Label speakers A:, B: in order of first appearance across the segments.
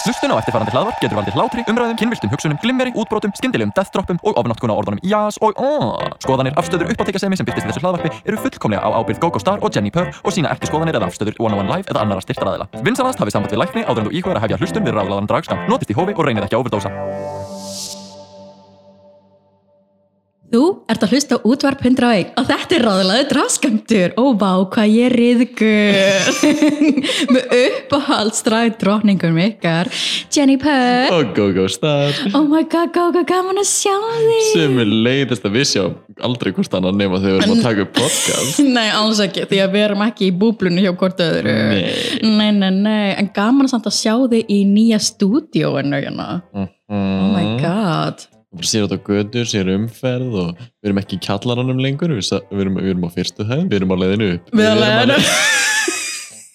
A: Hlustun á eftirfarandi hlaðvarp getur valdið hlátri, umræðum, kynviltum hugsunum, glimmeri, útbrotum, skyndilegum deathdroppum og ofnotkun á orðunum jás og aaaah. Skoðanir, afstöður, uppáttekasemi sem byrtist í þessu hlaðvarpi eru fullkomlega á ábyrgð GoGo Star og Jenni Purr og sína ekki skoðanir eða afstöður One on One Live eða annara styrtaraðila. Vinsanast hafið samband við lækni áður en þú íhugar að hefja hlustun við ráðlaðan dragskam. Notist í hófi og reynið ekki að overdósa.
B: Þú ert að hlusta á útvarp 101 og þetta er ráðlaðu drafskamtur og vá hvað ég er riðgur með uppáhaldsdrag drókningum ykkar Jenny Purr
C: Og GóGó Star
B: Oh my god, go, go, gaman að sjá þig
C: sem er leiðist að við sjáum aldrei hvort annan nema þegar við erum að taka upp podcast
B: Nei, alls ekki, því að við erum ekki í búblunni hjá hvort öðru
C: Nei
B: nei, nei, nei. en gaman samt að sjá þig í nýja stúdíóinu hérna. Oh my
C: Mm.
B: god
C: Mm-hmm. Við séum þetta á götu, séum umferð og við erum ekki í kjallaranum lengur við, sa- við, erum, við erum á fyrstu hæð, við erum á leiðinu upp
B: Við
C: erum
B: erum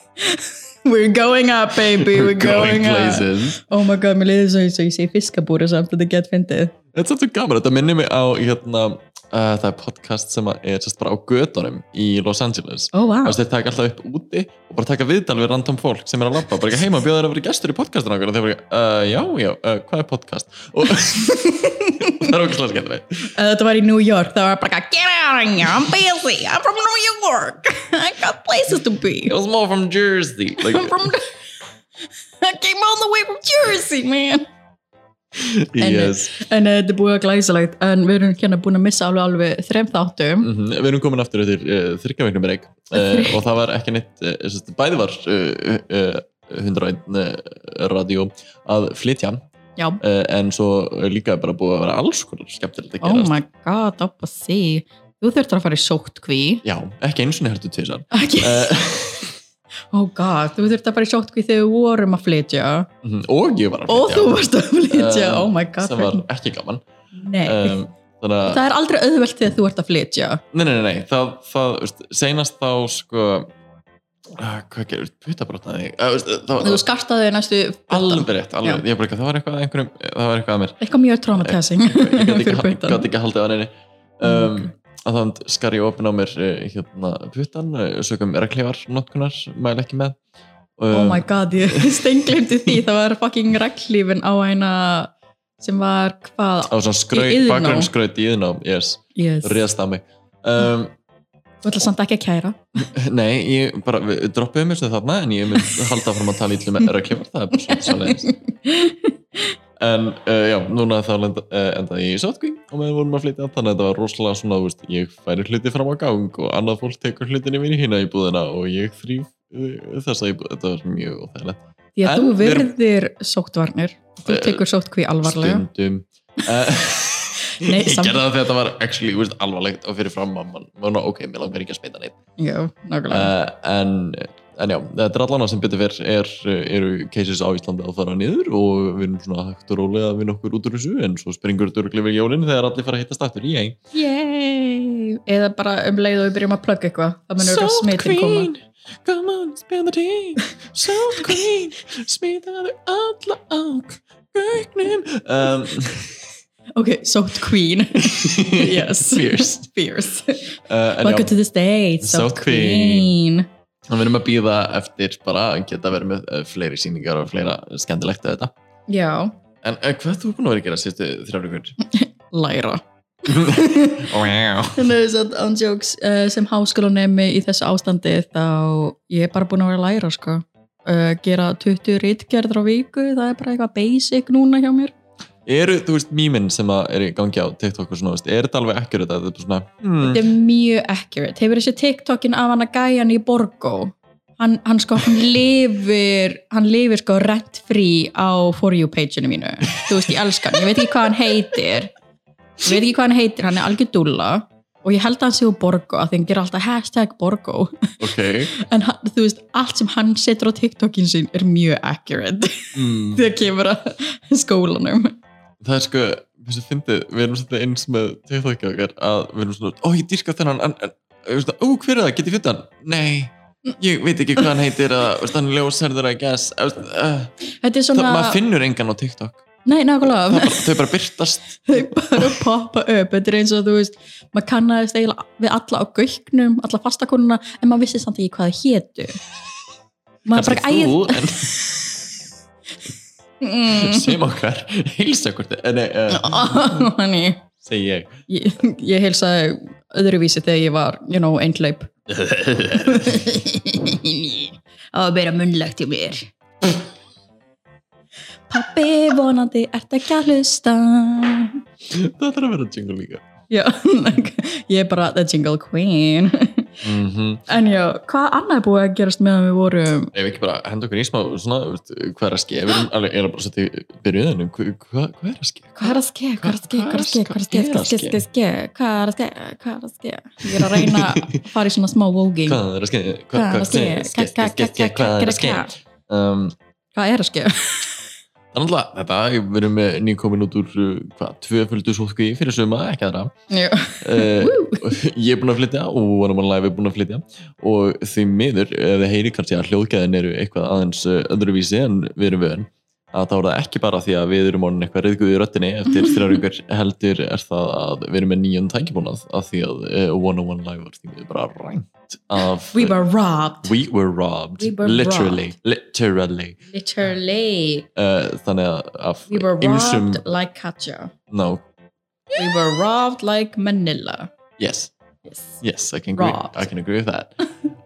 B: We're going up baby, we're,
C: We're going
B: up
C: places
B: Oh my god, mér liður svo eins og ég sé fiskabúri samt þetta get fyndið.
C: Þetta er svolítið gaman, þetta minnir mig á hérna, uh, það er podcast sem að er sérst bara á götunum í Los Angeles
B: Ó, oh, vá.
C: Þú veist, þeir taka alltaf upp úti og bara taka viðtal við random fólk sem er að labba bara ekki heima, bjóða þeir að vera gestur í podcastinu okkar og þeir bara, uh, já, já, uh, hvað er podcast? og það er okkur slags getur við
B: Ef þetta var í New York, það var bara get out of here, I'm busy, I'm from New York, I got places to be.
C: It was more from Jersey like,
B: I'm from, I came all the way from Jersey, man.
C: yes.
B: En eh, þetta er búið að glæsilegt, en við erum hérna búin að missa alveg alveg þrem þáttum.
C: Mm við erum komin aftur eftir uh, þryggjaveiknum reik uh, og það var ekki neitt uh, sérst, bæði var uh, uh, 101 uh, radio að flytja
B: Já,
C: uh, en svo líka bara búið að vera alls konar skemmtilegt að
B: oh
C: gerast
B: my god, up a see. Þú þurftur að fara í sótkví.
C: já, ekki eins og nefntu tísar
B: Okay. oh god, þú þurftur að fara í sótkví þegar við vorum að flytja.
C: Mhm, og ég var að
B: Og
C: flytja
B: þú varst að flytja,
C: Eh,
B: oh my god.
C: sem var ekki gaman
B: Nei,
C: um, þannig að,
B: það er aldrei auðvelt þegar þú ert að flytja.
C: nei, nei, nei, nei það, það veist, senast þá sko uh, hvað gerir, putabrotnaði uh, veist, það
B: Þú
C: var
B: skartaði næstu...
C: alveg rétt, alveg,
B: Já.
C: ég bara ekki, það var eitthvað að einhverjum, það var eitthvað að mér
B: Eitthvað mjög traumatizing
C: ég gat
B: fyrir
C: ekki,
B: puttan.
C: gat ekki haldið á henni um, að þannig skar ég opin á mér eh, hérna puttan, eh, sögum reglívar notkunar, mæl ekki með
B: Oh
C: um,
B: my god, ég stenglimti því. Það var fucking reglífin á eina sem var hvað...
C: á svona
B: Í
C: skraut,
B: Iðnó.
C: bakgrunnskraut í yðnám yes,
B: Yes.
C: réðst á mig um,
B: Þú ætla samt ekki að kæra.
C: nei, ég bara við droppuðum þessu þarna en ég mun halda fram að tala ítlum með reglívar, það er bara svona svolítið en uh, já, núna þá lenda, uh, endaði ég í sótkví og meðan vorum að flytja þannig að þetta var rosalega svona, þú veist, ég færi hluti fram á gang og annað fólk tekur hlutinni mín í hina íbúðina og ég þrýf uh, þessa íbúð, þetta var mjög óþægilegt
B: Því að
C: En
B: þú
C: við erum-
B: virðir sóktvarnir. Þú
C: Eh,
B: tekur sótkví alvarlega.
C: stundum uh,
B: Nei,
C: ég
B: samt-
C: gerði það þegar þetta var actually, þú veist, alvarlegt og fyrir fram að mann, mann ok, mér langar ekki að smita neitt
B: Já, nákvæmlega.
C: uh, en En já, þetta er allan að sem betur fyrr er, eru cases á Íslandi að fara niður og við erum svona hægt og rólega að vinna okkur út úr þessu en svo springur þetta örglega við jólinn þegar allir fara að hittast aftur, ég
B: Yay! Eða bara um leið og við byrjum að plugga eitthvað. Það munur að smitin koma.
C: come on, spill the tea Salt Queen, smitaðu alla á gögnin um,
B: Ok, South Queen. yes.
C: Fierce
B: Fierce.
C: uh, En
B: Welcome
C: já,
B: to the States, South,
C: South
B: Queen.
C: Queen. við erum að býða eftir bara að geta verið með eh, fleiri sýningar og fleira skemmtilegt að þetta
B: Já,
C: En uh, hvað ert þú búin að vera að gera sérstu þrjáfrikur?
B: læra.
C: wow
B: Þannig að þess án jokes uh, sem háskólanemi í þessu ástandi þá ég er bara búin að vera að læra sko. Uh, gera 20 rítgerður á viku, það er bara eitthvað basic núna hjá mér.
C: Eru, þú veist, mýminn sem að er í gangi á TikTok og svona, veist, er þetta alveg ekkur þetta? Þetta er bara svona, hmm,
B: Þetta er mjög accurate. Hefur þessi TikTokin af hann að gæja hann í Borgó? Hann, hann sko, hann lifir, hann lifir sko rent free á For You page-inu mínu. Þú veist, ég elska hann. Ég veit ekki hvað hann heitir. Ég veit ekki hvað hann heitir, hann er algjör dúlla og ég held að hann sé úr Borgó að því hann gerir alltaf hashtag Borgó.
C: ok
B: En hann, þú veist, allt sem hann setur á TikTokin sín er mjög accurate
C: mm.
B: þegar kemur að skólanum.
C: það er sko, þess að fyndið, við erum svolítið eins með TikTokið okkar að við erum svona, ó ég dýrka þennan, en, en, þú veist, ó hver er það, get ég fjönd hann? Nei, ég veit ekki hvað hann heitir eða, þú veist, hann er ljósherður að guess, Þú veist, uh,
B: Þetta er
C: það,
B: svona...
C: maður finnur engan á TikTok,
B: Nei,
C: það
B: nákvæmlega.
C: bara, þau bara byrtast,
B: þau bara poppa upp þetta er eins og þú veist, maður kannaðist eiginlega við alla á göknum, alla fastakonuna en maður vissi samt ekki hvað það hétu maður bara
C: kannski þú,
B: ægir
C: en
B: Mm.
C: sem okkar heilsa hvort eh, nei, uh,
B: Þannig,
C: segi ég
B: ég, ég heilsaði öðruvísi þegar ég var, you know, eindleip. Það var meira munlegt í mér. Pappi vonandi, ert ekki að hlusta.
C: það þarf að vera jingle líka
B: Já, ég er bara the jingle queen.
C: mm
B: En já, hvað annað er búið að gerast meðan við vorum?
C: ef ekki bara henda okkur í smá svona, þú veist, hvað er að ske við erum alveg erum bara svolítið í byrjuðunum hvað, hvað, hvað er að ske
B: Hvað er að ske, hvað er að ske, hvað er að ske, hvað er að ske, hvað er að ske, hvað er að ske, hvað er að ske, hvað er að ske, ég er að reyna að fara í svona smá vóging.
C: hvað er að ske
B: Hvað er að ske,
C: ske- ske- ske- ske- hvað er að ske um,
B: Hvað er að ske?
C: Þannig að þetta, við erum með nýkomin út úr uh, hvað, tvöföldu sótkví fyrir suma, ekki aðra.
B: Já.
C: Uh, ég er búin að flytja og varum að læfi búin að flytja og því miður, ef þið heyri kannski að hljóðgæðin eru eitthvað aðeins uh, öðruvísi en við erum vöðin að þá er það ekki bara því að við erum orðin eitthvað reyðguð í röttinni eftir þrjár ykkur heldur er það að við erum með nýjum tækibúnað að því að uh, One on One Live var því miður bara rænt af
B: We were robbed.
C: We were robbed,
B: We were
C: literally, literally
B: Literally.
C: uh, þannig að af
B: We were
C: ýmsum-
B: robbed like Katja.
C: no,
B: We were robbed like Manila.
C: yes
B: Yes.
C: Yes, I can agree,
B: Robbed.
C: I can agree with that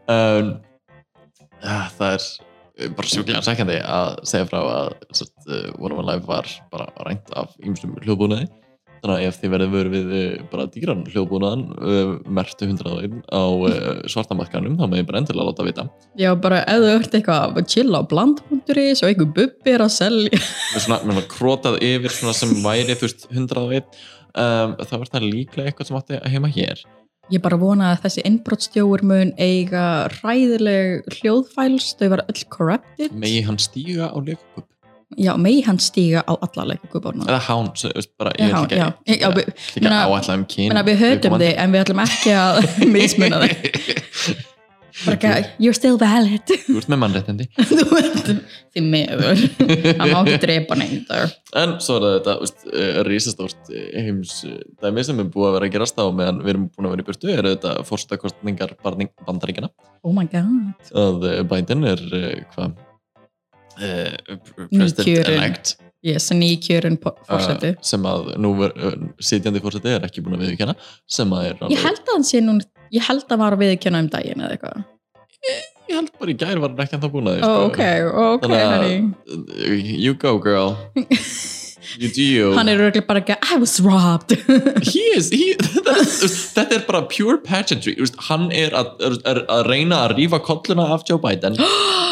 C: um, uh, Það er bara sjúklega sækjandi að segja frá að satt, uh, One of My Life var bara rænt af ýmsum hljóðbúnaði þannig að ef þið verðið verið við uh, bara dýran hljóðbúnaðan uh, mertu hundraðin á uh, svartamarkanum þá með ég bara endilega láta vita
B: Já, bara ef þú ert eitthvað að chilla á bland.is og einhver bubbi er að selja.
C: með svona, með svona krotað yfir svona sem væri þú veist hundraðin um, þá er það líklega eitthvað sem átti heima hér
B: Ég bara vona að þessi innbrotstjóur mun eiga ræðileg hljóðfæls, þau var öll corrupted.
C: megi hann stíga á leikup
B: Já, megi hann stíga á alla leikugubána.
C: eða hán, svo, veist, bara
B: Já,
C: ég ætla ekki
B: já,
C: að-
B: já,
C: ég
B: við-
C: ætla ekki
B: meina-
C: að áætla um kyn
B: Menna, við höfum þið en við ætlum ekki að mismuna þið. Bara ekki að, you're still valid.
C: þú ert með mannréttindi
B: Þú veit, því meður. Hann má ekki drepa neyndur.
C: en svo er það þetta veist, eh, risastórt heims eh, dæmi sem er búið að vera að gerast á meðan við erum búin að vera í burtu er þetta fórstakostningar bandaríkjana
B: Oh my god.
C: að eh, Biden er eh, hvað eh,
B: Nýkjörinn.
C: president-elect
B: Yes, nýkjörun fórseti.
C: eh, sem að nú ver, eh, sitjandi fórseti er ekki búin að viðkjanna sem að er
B: Ég held að hann sé núna, ég held að hann var að viðkjöna um daginn eða eitthvað.
C: ég held bara í gær var hann ekki en það búin að
B: Ó,
C: því, sko.
B: ok, ok,
C: Þannig að-
B: honey.
C: You go girl You do you
B: Hann er röglega bara ekki að, I was robbed.
C: He is, he, þetta, þetta er bara pure pageantry Þú veist, Hann er að, er að reyna að rífa kolluna af Joe Biden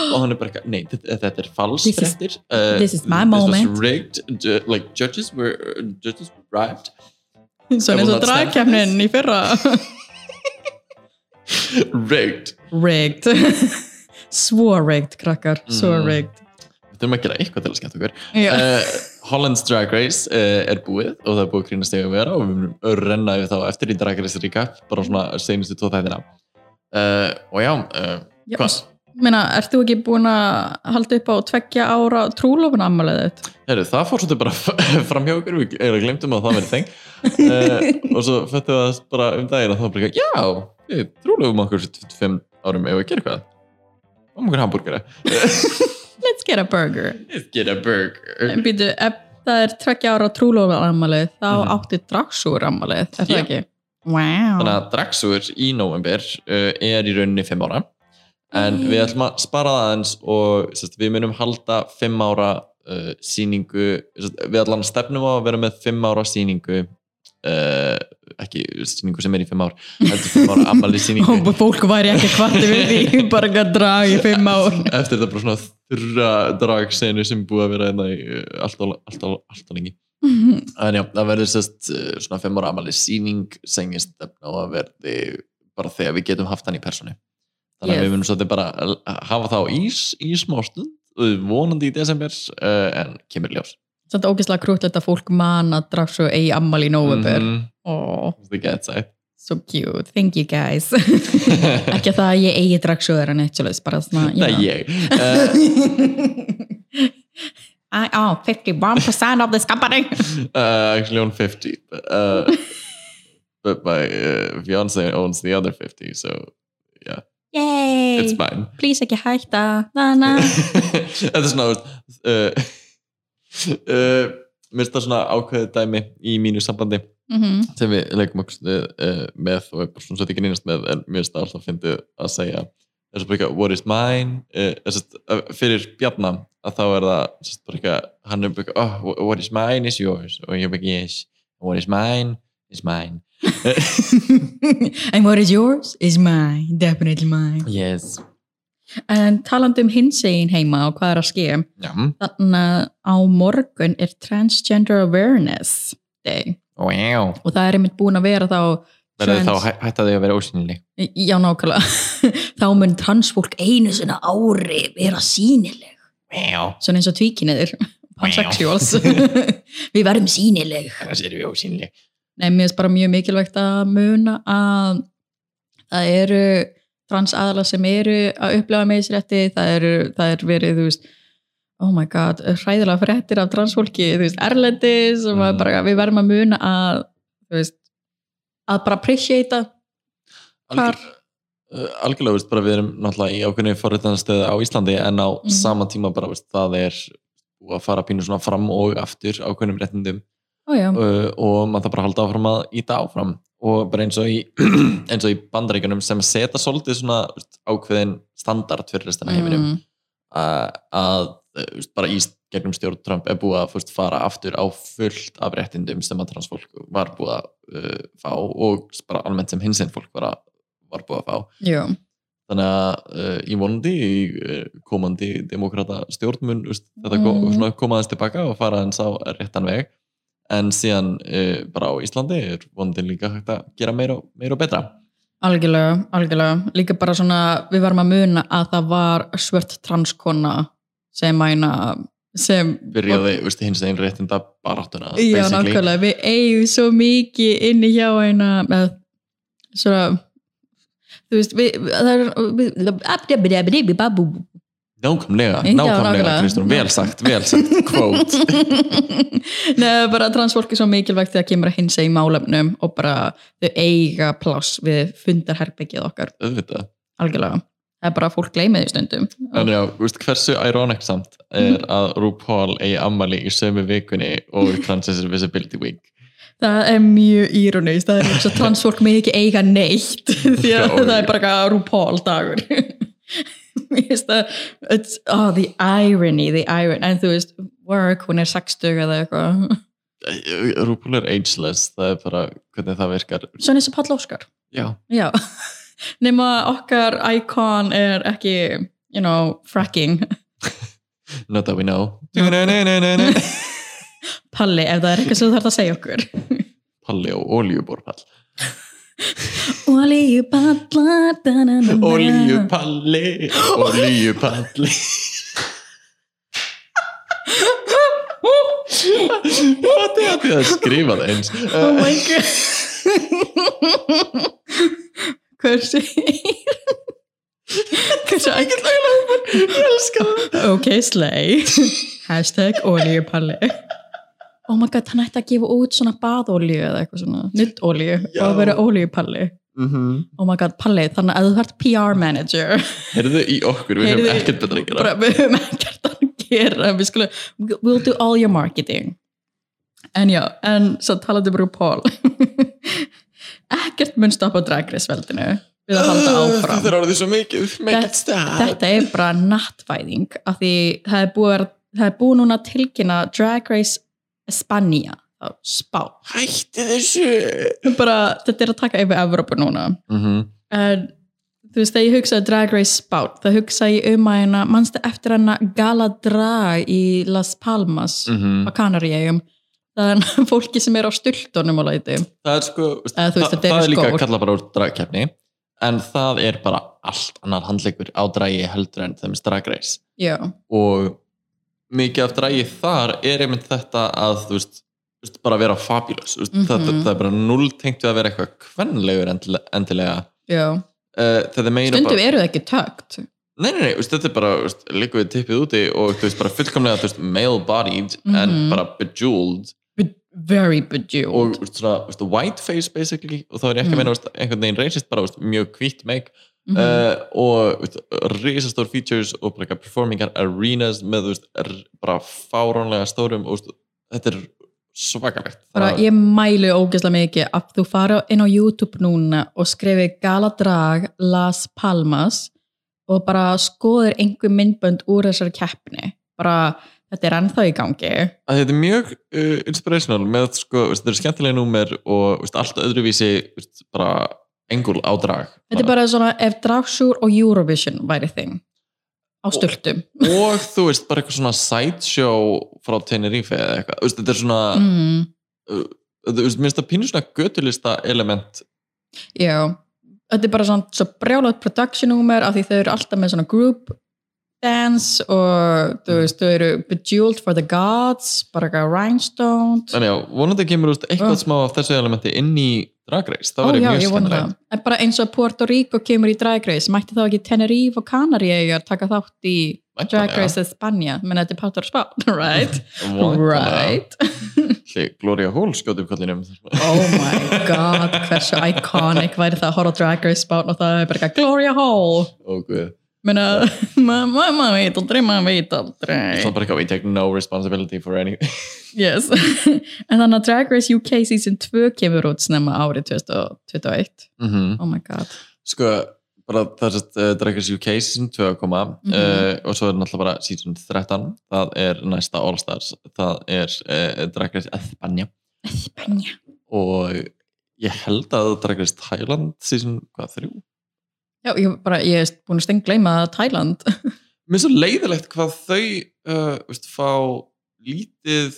C: og hann er bara, eitthvað, nei, þetta, þetta er falskt
B: This is-
C: fréttir. Uh,
B: this is my
C: This
B: moment."
C: was rigged, ju- like judges were, judges were bribed
B: Svona eins
C: Gamla
B: og dragkjæmnin í fyrra.
C: Rigged
B: rigged. Svo rigged, krakkar. Svo
C: Mm.
B: rigged.
C: Við þurfum að gera eitthvað til að skemmt okkur
B: Já.
C: uh, Holland's Drag Race uh, er búið og það er búið að grínast þegar við erum og við munum renna yfir þá eftir í Drag Race recap bara svona seinustu tvo þættina uh, og já, uh,
B: Já,
C: hvað?
B: Meina, ert þú ekki búin að halda upp á tveggja ára trúlofun ammaliðið þitt?
C: Heru, það fór svolítið bara fram hjá okkur, við eiginlega glemtum að það verið þeng uh, og svo fættum við það bara um daginn að það var bara ekki, já, við trúlegum okkur fyrir fimm árum ef við gerum eitthvað. Fáum okkur hambúrgara.
B: Let's get a burger.
C: Let's get a burger.
B: En býtu, ef það er tveggja ára trúlofun ammaliðið, þá
C: Mhm.
B: átti dragsúr ammaliðið, er það
C: Já.
B: ekki? Wow.
C: Þannig að Draxur í november uh, er í rauninni fimm ára en við ætlum að spara það aðeins og sérst, við munum halda fimm ára uh, sýningu sérst, við ætlum að stefnum á að vera með fimm ára sýningu uh, ekki sýningu sem er í fimm ár heldur fimm ára ammali sýningu
B: Og fólk væri ekki hvarti við því, bara ekki að draga í fimm ár.
C: eftir þetta bara svona þurra dragsenu sem er búið að vera hérna í, uh, alltaf, alltaf, alltaf lengi en já, það verður sérst uh, svona fimm ára ammali sýning sem ég stefna á að verði bara þegar við getum haft hann í personu þannig að
B: Yes.
C: við munum svolítið bara l- hafa það á ís í smá stund uh, vonandi í desember uh, en kemur í ljós
B: Samt ógeðslega krútlegt að fólk man að dragsúr eigi ammali í november. Mm
C: Mhm,
B: Oh,
C: það gæti sætt.
B: so cute. Thank you guys. ekki að það að ég eigi dragsúr en eitt svolítið, bara svona, you
C: það er
B: know.
C: ég uh,
B: I own 51% of this company.
C: uh, actually own 50 uh, but my uh, fiance owns the other 50 so
B: Yay!
C: it's mine
B: Please ekki hætta. Na, na.
C: þetta er svona þú veist, uh, uh, mér finnst það svona ákveðið dæmi í mínu sambandi
B: Mhm.
C: sem við leikum okkur uh, með og er bara svona sett ekki nýnast með en mér finnst það alltaf fyndið að segja er svo bara eitthvað, what is mine uh, er, sest, uh, fyrir Bjarnam að þá er það sest, bara eitthvað, hann er bara eitthvað oh, what is mine is yours og ég er bara eitthvað, yes, what is mine is mine
B: And what is yours is mine, definitely mine.
C: yes
B: En talandi um hinsegin heima og hvað er að ske,
C: já,
B: þannig að á morgun er Transgender Awareness Day
C: wow
B: og það er einmitt búin að vera þá
C: verður
B: Trans-
C: þá hæ- hætta þau að vera ósynli
B: Já, nákvæmlega. Þá mun transfólk einu sinna ári vera sínileg.
C: wow,
B: Svona eins og tvíkinniður. Pansexuals. við verðum sínileg.
C: annars erum við ósynli
B: Nei, mér finnst bara mjög mikilvægt að muna að það eru transaðala sem eru að upplega meðisrétti, það, eru- það er verið, þú veist, oh my god, hræðilega fréttir af transfólki, þú veist, erlendis og maður
C: Mm.
B: bara, við verðum að muna að, þú veist, að bara appreciata. Hvar?
C: Algjör, uh, algjörlega, veist, bara við erum náttúrulega í ákveðinu forréttanstöðu á Íslandi en á
B: Mhm.
C: sama tíma bara, veist, það er búið að fara pínu svona fram og aftur ákveðnum réttindum
B: Ójá,
C: uh, og maður þarf bara að halda áfram að íta áfram og bara eins og í, eins og í bandaríkjunum sem seta svolítið svona veist, ákveðin standard fyrir restina af
B: Mhm.
C: heiminum að, að uh, veist, bara í gegnum stjórn Trump er búið að fyrst fara aftur á fullt af réttindum sem að transfólk var búið að uh, fá og bara almennt sem hinsinn fólk var, að, var búið að fá
B: Jú,
C: þannig að uh, í vonandi í uh, komandi demokrata stjórnmun veist, þetta mm.
B: Mhm.
C: svona, koma aðeins tilbaka og fara aðeins á réttan veg en síðan uh, bara á Íslandi er vonandi líka hægt að gera meira, og- meira og betra
B: algjörlega, algjörlega. Líka bara svona, við varum að muna að það var svört transkona sem mæna, sem...
C: byrjaði veist, hins einn réttinda baráttuna
B: Já,
C: basically.
B: nákvæmlega. Við eigum svo mikið inni hjá eina með svona... Þú veist, við, það er... Við,
C: Nákvæmlega,
B: Já,
C: nákvæmlega
B: nákvæmlega.
C: Kristján, vel sagt, vel sagt, quote
B: Nei, bara transfólk er svo mikilvægt þegar kemur að hinsa í málefnum og bara þau eiga pláss við fundarherbyggið okkar,
C: auðvitað.
B: algjörlega. Það er bara að fólk gleymi því stundum.
C: En já, veist, hversu ironic samt er
B: Mhm.
C: að RuPaul eigi ammali í sömu vikunni og Transgender Visibility Week
B: Það er mjög írónist, það er eins og transfólk með ekki eiga neitt því að
C: Já,
B: það
C: já.
B: er bara eitthvað RuPaul dagur Mér finnst það it's- oh, the irony, the irony en þú veist, work, hún er sextug eða eitthvað,
C: RuPaul er ageless, það er bara hvernig það virkar
B: svona eins og Páll Óskar
C: Já,
B: já, nema okkar icon er ekki you know, fracking
C: not that we know
B: Palli, ef það er eitthvað sem þú þarf að segja okkur
C: Palli og oljuborpall
B: Olíupallar
C: Oljupalli, oljupalli Hvað er þetta að skrifa það eins?
B: Oh my god Hversu Hversu ægillega Ég elska það Ok, slay Hashtag oljupalli Oh my god, hann ætti að gefa út svona baðolju eða eitthvað svona, nuttolju
C: Já.
B: og að vera oljupalli
C: Mm
B: Oh my god, palli, þannig að þú ert PR manager
C: Heyrðu í okkur, við
B: Heyrðu
C: höfum
B: í-
C: ekkert betra að gera
B: bara við höfum ekkert að gera við skulum, we'll do all your marketing en já, en svo talaði bara um Paul ekkert mun stoppa dragrisveldinu við að halda áfram
C: Þetta er orðið svo mikið,
B: Þetta-
C: make it stop
B: þetta er bara nattvæðing af því það er búið, að vera- það er búið núna að tilkynna Drag Race Espania á spá,
C: Hætti þessu
B: bara þetta er að taka yfir Evrópu núna Mhm, en þú veist, þegar ég hugsaði Drag Race Spout, þá hugsaði ég um að hérna, mannstu eftir hana Gala Drag í Las Palmas
C: Mm.
B: á Kanaríum þannig að fólki sem er á stultunum og læti
C: Það er sko
B: Eða þú veist,
C: það,
B: þetta eru
C: það er líka
B: skór.
C: að kalla bara úr dragkeppni en það er bara allt annar handleikur á dragi heldur en þeim dragreis
B: já,
C: og mikið af dragi þar er einmitt þetta að þú veist, þú veist bara vera fabulous mm
B: Mhm.
C: -hmm. það, það er bara null tengt við að vera eitthvað kvenlegur endilega- endilega
B: já
C: uh, þetta meina
B: stundum
C: bara
B: eru það ekki tögt
C: Nei, nei, nei, þú veist, þetta er bara, þú veist, líka við tippið úti og þú veist, bara fullkomlega, þú veist, male-bodied en
B: Mhm.
C: bara bejeweled
B: very bejeweled
C: og þú veist, svona, þú veist, white face basically og þá er ég ekki að meina, þú veist, einhvern veginn racist bara, þú veist, mjög hvítt meik
B: Mhm.
C: uh, og veist, risastór features og bara eitthvað performingar arenas með veist, r- bara fáránlega stórum og veist, þetta er svakalegt
B: bara
C: Það-
B: ég mælu ógeðslega mikið að þú fara inn á YouTube núna og skrifi Galadrag Las Palmas og bara skoður einhver myndbönd úr þessari keppni bara þetta er ennþá í gangi
C: að þetta er mjög uh, inspirational með sko, veist, þetta er skemmtilega númer og veist, allt öðruvísi veist, bara engul á drag
B: þetta er bara svona ef Dragsjúr og Eurovision væri þing á stultum
C: og þú veist, bara eitthvað svona sideshow frá Tenerife eða eitthvað Þú veist, þetta er svona,
B: mm,
C: þú veist, minnst það pínu svona götulista element
B: já þetta er bara svona svo brjálátt production númer af því þau eru alltaf með svona group dance og þú veist, þau eru Bejeweled for the Gods bara eitthvað Rhinestone
C: en já, vonandi kemur þú veist,
B: Ah.
C: eitthvað smá af þessu elementi inn í Drag Race, það
B: Ó,
C: væri
B: já,
C: mjög
B: ég vona
C: skemmtilegt
B: það. En bara eins og Puerto Rico kemur í Drag Race, mætti þá ekki Tenerife og Kanarí að taka þátt í Drag
C: Væntanlega.
B: Race eða Spanja, menn þetta er pátur spá, right?
C: Væntanlega.
B: right.
C: Ætli Gloria Hall skjóti upp kallinum
B: Oh my god, hversu iconic væri það að horfa á Drag Race spán og það er bara eitthvað Gloria Hall.
C: og Oh, guð,
B: Menna, maður ma, ma veit aldrei, maður veit
C: það
B: aldrei.
C: er bara eitthvað we take no responsibility for any
B: Yes. en þannig að Drag Race UK season 2 kemur út snemma árið 2021.
C: mm
B: Oh my god.
C: sko, bara það er sérst uh, Drag Race UK season 2 að koma
B: Mhm.
C: uh, og svo er náttúrulega bara season 13 það er næsta All Stars það er uh, Drag Race Espanja
B: Spanja.
C: og ég held að Drag Race Thailand season, hvað, þrjú?
B: Já, ég, bara, ég er búin að stengleima Thailand.
C: Mér er svo leiðilegt hvað þau uh, veist, fá lítið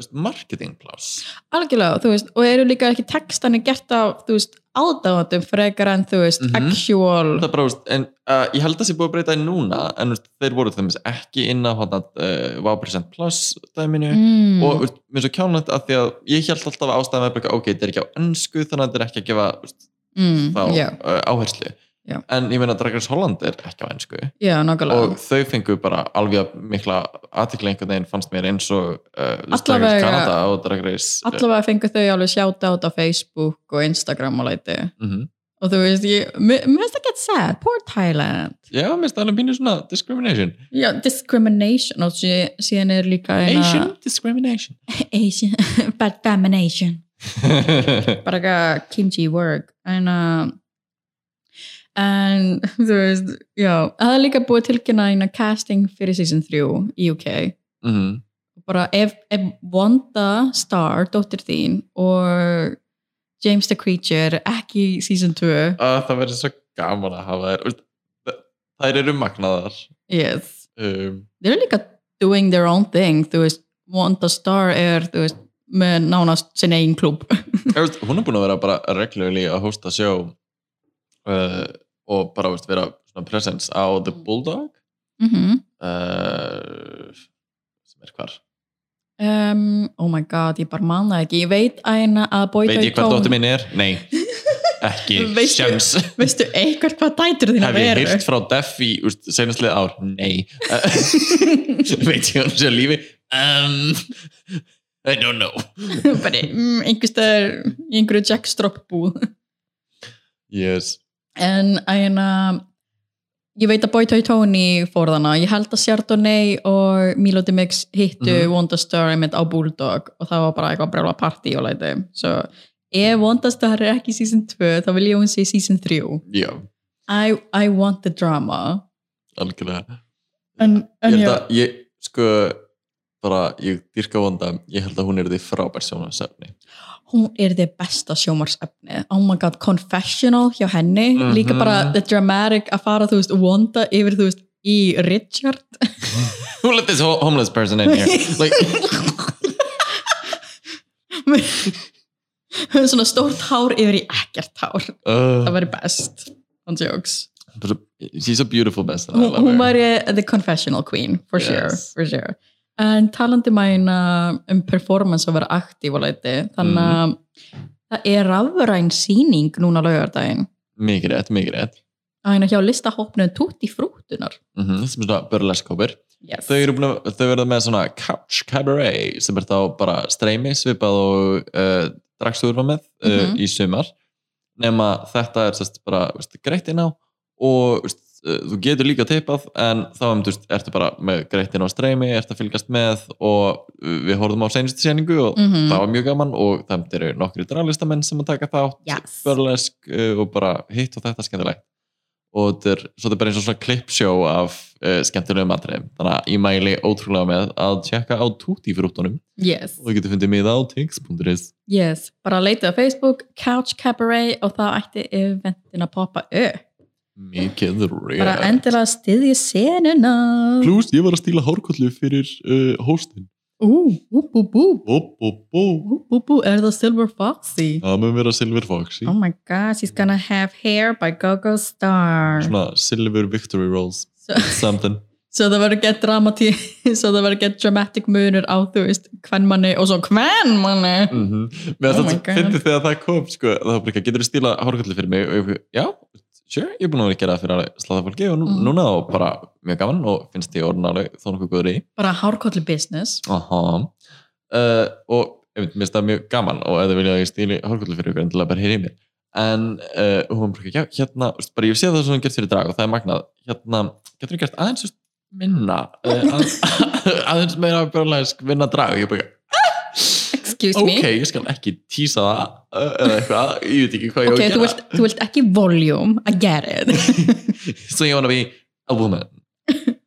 C: veist, marketingplás
B: Algjörlega, þú veist, og eru líka ekki textanir gert af, þú veist, aðdáðandum frekar en, þú veist,
C: Mhm.
B: actual
C: Það er bara, veist, en, uh, ég held að það sé búið að breyta í núna en veist, þeir voru þeim ekki inn á hana, uh, Wow% Plus dæminu
B: mm,
C: og veist, mér er svo kjánlegt að því að ég held alltaf að ástæðan var bara eitthvað, ok, þetta er ekki á ennsku þannig að þetta er ekki að gefa veist,
B: mm,
C: þá
B: já,
C: uh, áherslu
B: Já.
C: en ég meina að Drag Race Holland er ekki á ennsku
B: já, nákvæmlega
C: og þau fengu bara alveg jafn mikla aðtikli einhvern veginn fannst mér eins og uh, þú veist, Drag Race
B: Allavega-
C: Canada og Drag Race uh,
B: allavega fengu þau alveg sjáta át á Facebook og Instagram og læti
C: uh, mm -hmm.
B: og þú veist, ég, mér mér finnst það get sad poor Thailand,
C: já, mér finnst það alveg pínu svona discrimination
B: já, discrimination og sí- síðan er líka eina
C: Asian discrimination
B: Asian, bad femination bara eitthvað kimchi work en uh, en þú veist já, það er líka búið að tilkynna eina casting fyrir season 3 í UK
C: mm -hmm.
B: bara ef, ef Wanda Star, dóttir þín og James the Creature ekki í season 2
C: það verður svo gaman að hafa þær Veist, þ- þær eru magnaðar
B: yes,
C: um,
B: þeir eru líka doing their own thing, þú veist Wanda Star er, þú veist með nánast sinn eigin klub
C: Ég veist, hún er búin að vera bara regularly að hosta sjó uh, og bara veist, vera svona presence á The Bulldog
B: mm
C: uh, sem er hvar
B: um, oh my god, ég bara man það ekki ég veit aðeina að Boy
C: veit
B: Toy
C: ég hvað
B: Tone-
C: dóttir minn er? Nei, ekki
B: Veistu-
C: sjans
B: Veistu eitthvað hvað dætur þína
C: hef ég
B: veru?
C: hýrt frá Def í senastlið ár? Nei uh, veit ég hún sé að lífi? Um, I don't know
B: Bara mm, einhvers staðar í einhverju jackstrop búð.
C: yes.
B: En æna, ég veit að Boy Toy Tony fór þarna. Ég held að Chardonnay og Milo Dimix hittu mm
C: Mhm.
B: -hmm. Wondastar einmitt á Bulldog og það var bara eitthvað brjóla partí og læti. Svo ef Wondastar er ekki í season 2 þá vil ég að hún sé í season 3.
C: já,
B: I, I want the drama.
C: algjörlega
B: En, en
C: ég held
B: já,
C: að ég sko bara ég dyrka vonda ég held að hún er því frábær sjónasefni
B: hún er þið besta sjómarsefni oh my god, confessional hjá henni
C: Mhm.
B: líka bara the dramatic að fara þú veist, Wanda yfir þú veist í Richard
C: who let this ho- homeless person in here like,
B: svona stórt hár yfir í ekkert hár það
C: uh,
B: væri best on jokes
C: she's a beautiful best and I
B: hún,
C: love
B: hún
C: her.
B: væri the confessional queen for
C: Yes.
B: sure, for sure. en talandi mæna um performance að vera aktív og leiti þannig að það er rafræn sýning núna laugardaginn
C: mikið rétt, mikið rétt
B: að hérna hjá listahopnum tutt í frúttunar
C: mm -hmm, sem er svona börleskópur
B: yes.
C: þau eru búin að, þau verða með svona couch cabaret sem er þá bara streymi svipað og uh, dragstúr var með uh,
B: Mhm.
C: í sumar nema þetta er sérst bara veist, greitt inn á og veist, eh, þú getur líka teipað en þá um, þú veist, ertu bara með greittin á streymi, ertu að fylgast með og uh, við horfum á seinustu séningu og
B: Mhm.
C: það var mjög gaman og það eru nokkri drálistamenn sem að taka þátt
B: Yes.
C: burlesk uh, og bara hitt og þetta skemmtilegt og þetta er svolítið bara eins og svona klippsjó af uh, skemmtilegum atriðum þannig að ég mæli ótrúlega með að tjekka á tutti frúttunum
B: Yes,
C: og þú getur fundið miða á tix.is
B: yes. Bara leitið á Facebook, Couch Cabaret og þá ætti eventin að poppa upp.
C: mikið
B: Bara
C: rétt
B: endilega styðja senuna.
C: pluss ég var að stíla hárkollu fyrir uh, hóstin
B: Ú, bú, bú, bú.
C: bó bó bó
B: Bú, bú, bú, er það Silver Foxy?
C: það mun vera Silver Foxy
B: Oh my gosh, he's gonna have hair by Gogo Star.
C: svona Silver Victory Rolls
B: So,
C: something
B: so það verður gett dramatí, so það verður gett dramatic munur á, þú veist, hvernmanni og svo hvernmanni.
C: mm með
B: Oh my
C: þetta
B: God.
C: fyndið þegar það kom sko, það var bara ekki, getur þú stíla hárkallu fyrir mig og ég, fyrir, já, sure, ég er búin að vera að gera það fyrir alveg sláða fólki og nú,
B: Mm.
C: núna og bara mjög gaman og finnst ég orðin alveg þó nokkuð góður í
B: Bara hárkollu business.
C: Aha. uh, og einmitt, mér finnst það mjög gaman og ef þið vilja að ég stíli hárkallu fyrir ykkur endilega bara heyrið í mér en uh, hún bara, já, hérna veist, bara, ég sé það sem hún gert fyrir drag og það er magnað hérna, getur þú gert aðeins veist, minna uh, að, aðeins meira björnlega vinna drag ég bara,
B: Excuse
C: ok,
B: me.
C: ég skal ekki tísa það uh, eða eitthvað, ég veit ekki hvað ég á
B: Ok,
C: að
B: þú
C: gera
B: vilt, þú vilt ekki volume, I get it.
C: so you wanna be a woman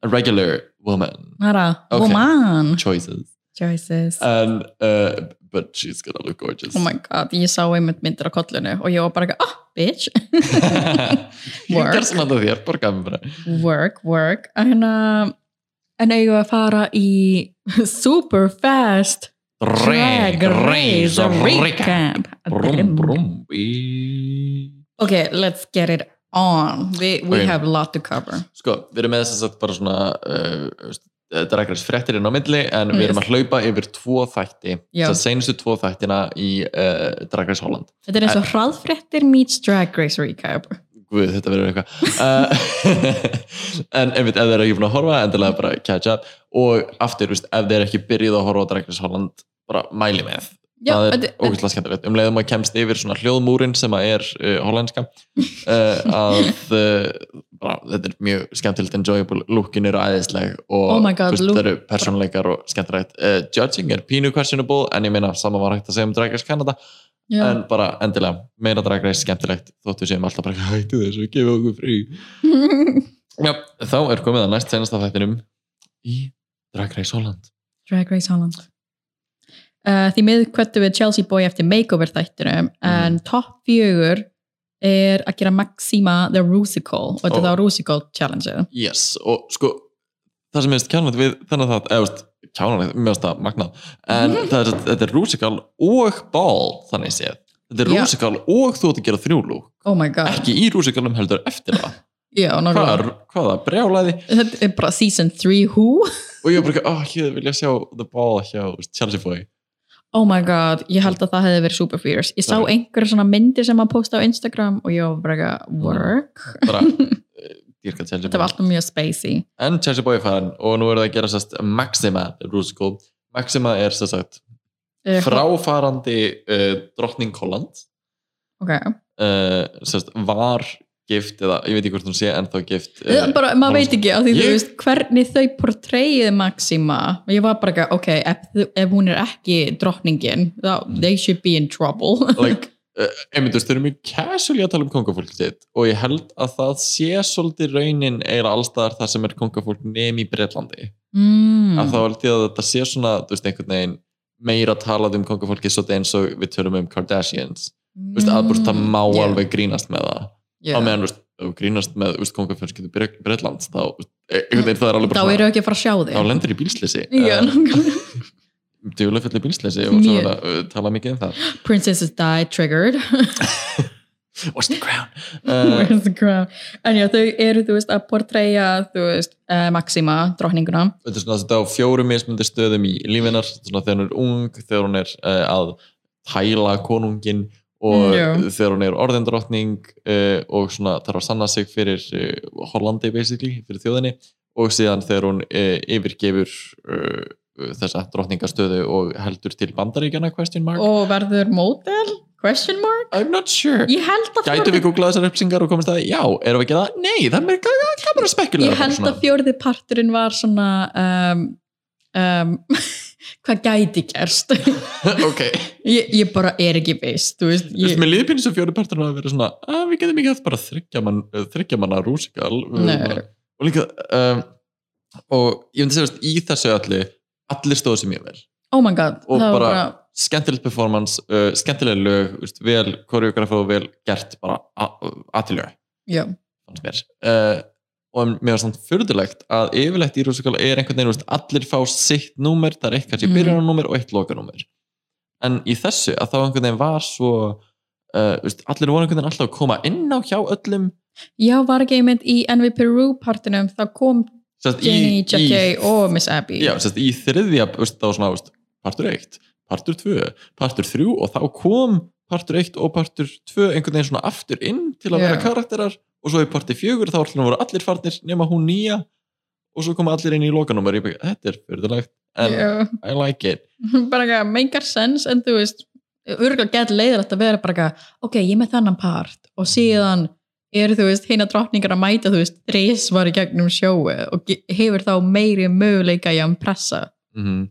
C: a regular woman
B: Nara,
C: Ok.
B: woman.
C: choices
B: Choices.
C: and uh, but she's gonna look gorgeous
B: Oh my god, ég sá einmitt myndir á kollinu og ég var bara, oh, bitch,
C: ég
B: Work.
C: ger svona þetta þér, borgaði mér bara
B: work, work. En, uh, en eigum við að fara í E super fast Drag Race Recap
C: brum
B: Brum.
C: brum í
B: Ok, let's get it on We, we
C: Ok.
B: have a lot to cover
C: sko, við erum með þess að bara svona uh, dragræs fréttir inn á milli en við erum
B: Yes.
C: að hlaupa yfir tvo þætti
B: Já.
C: það seinustu tvo þættina í uh, dragræs Holland
B: Þetta er eins
C: Uh,
B: og hraðfréttir meets Drag Race Recap
C: Guð, þetta verður eitthvað uh, En einmitt, ef þeir eru ekki búin að horfa endilega bara catch up og aftur, veist, ef þeir eru ekki byrjuð að horfa á Drag Race Holland, bara mæli með
B: Já,
C: það er
B: þetta- þetta-
C: ógustlega skemmtilegt um leiðum að kemst yfir svona hljóðmúrin sem að er uh, hollenska uh, að uh, bara, þetta er mjög skemmtilegt enjoyable, lookin eru æðisleg og
B: Oh my God,
C: þú
B: look-
C: það eru persónleikar og skemmtilegt uh, judging er pínu questionable en ég meina sama var hægt að segja um Drag Race Canada
B: Já.
C: en bara endilega, meira Drag Race skemmtilegt þóttu séum alltaf bara hættu þessu, gefa okkur frí Já, þá er komið að næst senast af þættinum í Drag Race Holland
B: Drag Race Holland uh, Því miður kvöttu við Chelsea Boy eftir makeover þættinum
C: Mhm.
B: en topp fjögur er að gera Maxima the Rusical og þetta er
C: Ó.
B: þá Rusical Challenge
C: Yes, og sko það sem minnst kjánlegt við þennan það eða veist, kjánlegt, mér finnst það magnað en
B: Mhm.
C: það er, þetta er rúsikal og ball, þannig séð þetta er
B: Já.
C: rúsikal og þú ert að gera þrjúlú
B: Oh my god
C: ekki í rúsikalum heldur eftir það
B: Já, nákvæmlega.
C: hvaða, hvaða brjálæði
B: Þetta er bara season 3 who?
C: og ég bara, oh, ég vilja sjá the ball hjá Chelsea Boy
B: Oh my god, ég held að það hefði verið super fierce. Ég sá
C: Það er-
B: einhverja svona myndir sem að posta á Instagram og ég var bara eitthvað, work.
C: bara, eh, dýrka Chelsea
B: Þetta
C: Boy
B: var alltaf mjög spacey.
C: en Chelsea Boy er farin og nú er það að gera sérst Maxima Rusical Maxima er sérst sagt
B: Eh,
C: fráfarandi uh, drottning Holland
B: Ok,
C: uh, sérst var gift eða ég veit ekki hvort hún sé ennþá gift uh,
B: Eh, bara, maður veit ekki að því þú
C: Ég-
B: veist hvernig þau portreyið Maxima. Ég var bara eitthvað, ok, ef, þú- ef hún er ekki drottningin, þá they should be in trouble.
C: like, uh, einmitt, þú veist, þau eru mjög casually að tala um kongafólk sitt og ég held að það sé svolítið raunin eiginlega allstaðar þar sem er kongafólk nemi í Breitlandi
B: mm.
C: að þá held ég að þetta sé svona þú veist, einhvern veginn meira talað um kongafólki svolítið eins og við tölum um Kardashians þú veist, að bara það má
B: Yeah,
C: alveg grínast með það á
B: Mm. yeah.
C: meðan, þú veist, ef þú grínast með þú veist, kongafjörnskyndu Bretlands þá, þú veist, e, einhvern veginn það er alveg
B: Þá
C: bara
B: eru ekki að fara að sjá
C: þá
B: þig.
C: lendir í bílsleysi
B: Já, nákvæmlega.
C: djúlega fullir bílsleysi og svo
B: Mjög.
C: er að uh, tala mikið um það
B: Princesses die triggered.
C: what's the crown
B: Where
C: uh,
B: is the crown? En já, þau eru, þú veist, að portreyja, þú veist, uh, Maxima, drottninguna.
C: þetta er svona þetta á fjórum mismundi stöðum í lífinar svona þegar hún er ung, þegar hún er uh, að tæla konungin og
B: Mm, já.
C: þegar hún er orðindrottning uh, og svona þarf að sanna sig fyrir uh, Hollandi basically, fyrir þjóðinni og síðan þegar hún uh, yfirgefur uh, þessa drottningastöðu og heldur til bandaríkjana question mark
B: Og verður mótel? Question mark?
C: I'm not sure
B: Ég held að
C: Gætu við googlað þessar upplýsingar og komist að því? Já, erum við ekki það? Nei, það er mér gaman að spekulera
B: ég
C: bara
B: held
C: svona.
B: að fjórði parturinn var svona um, um, hvað gæti gerst
C: ok,
B: ég, ég bara er ekki veist þú veist,
C: þú veist,
B: ég,
C: mér líður pínu sem fjóri parturinn að vera svona að við getum ekki haft bara þryggja mann, eh, þriggja manna rúsikal
B: Nei.
C: og líka um, og ég myndi segja í þessu öllu allir stóðu sem ég vel
B: oh my god
C: og
B: það var
C: bara- skemmtilegt performance, uh, skemmtileg lög veist, vel koreografa og vel gert bara aðtiljög
B: já,
C: fannst mér uh, og mér var samt fyrðulegt að yfirlegt í rússikál er einhvern veginn, þú veist, allir fá sitt númer, það er eitt kannski
B: Mhm.
C: byrjunarnúmer og eitt lokanúmer en í þessu að þá einhvern veginn var svo uh, veist, allir voru einhvern veginn alltaf að koma inn á hjá öllum
B: já var ekki einmitt í NV Peru partinum þá kom
C: sest,
B: Jenny, JK og Miss Abby
C: já, sest, í þriðja veist, þá svona, veist, partur 1, partur 2 partur 3 og þá kom partur 1 og partur 2 einhvern veginn svona aftur inn til að
B: Já.
C: vera karakterar og svo í partur 4 þá allir voru allir farnir nema hún nýja og svo koma allir inn í lokanúmer ég bara, þetta er fyrirlegt en
B: Já,
C: I like it
B: bara ekki meikar sens en þú veist örgulega gett leiðilegt að vera bara ekki ok, ég er með þannan part og síðan eru þú veist hina drottningar að mæta þú veist þrísvar í gegnum sjóu og ge- hefur þá meiri möguleika í að pressa
C: mm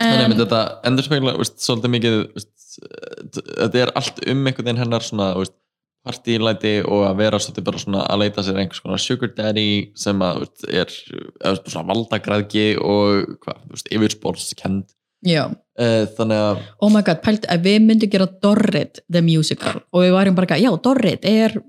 C: Þannig
B: en,
C: að þetta endurspegla veist, svolítið mikið veist, eh, þetta er allt um einhvern veginn hennar svona veist, partílæti og að vera svolítið bara svona að leita sér einhvers konar sugar daddy sem að veist, er eða, veist, svona valdagræðgi og hvað, þú veist, yfirspórskend
B: já,
C: uh, þannig að
B: oh my god, pælti að við myndum gera Dorrit the musical og við varum bara ekki, já Dorrit er
C: eða,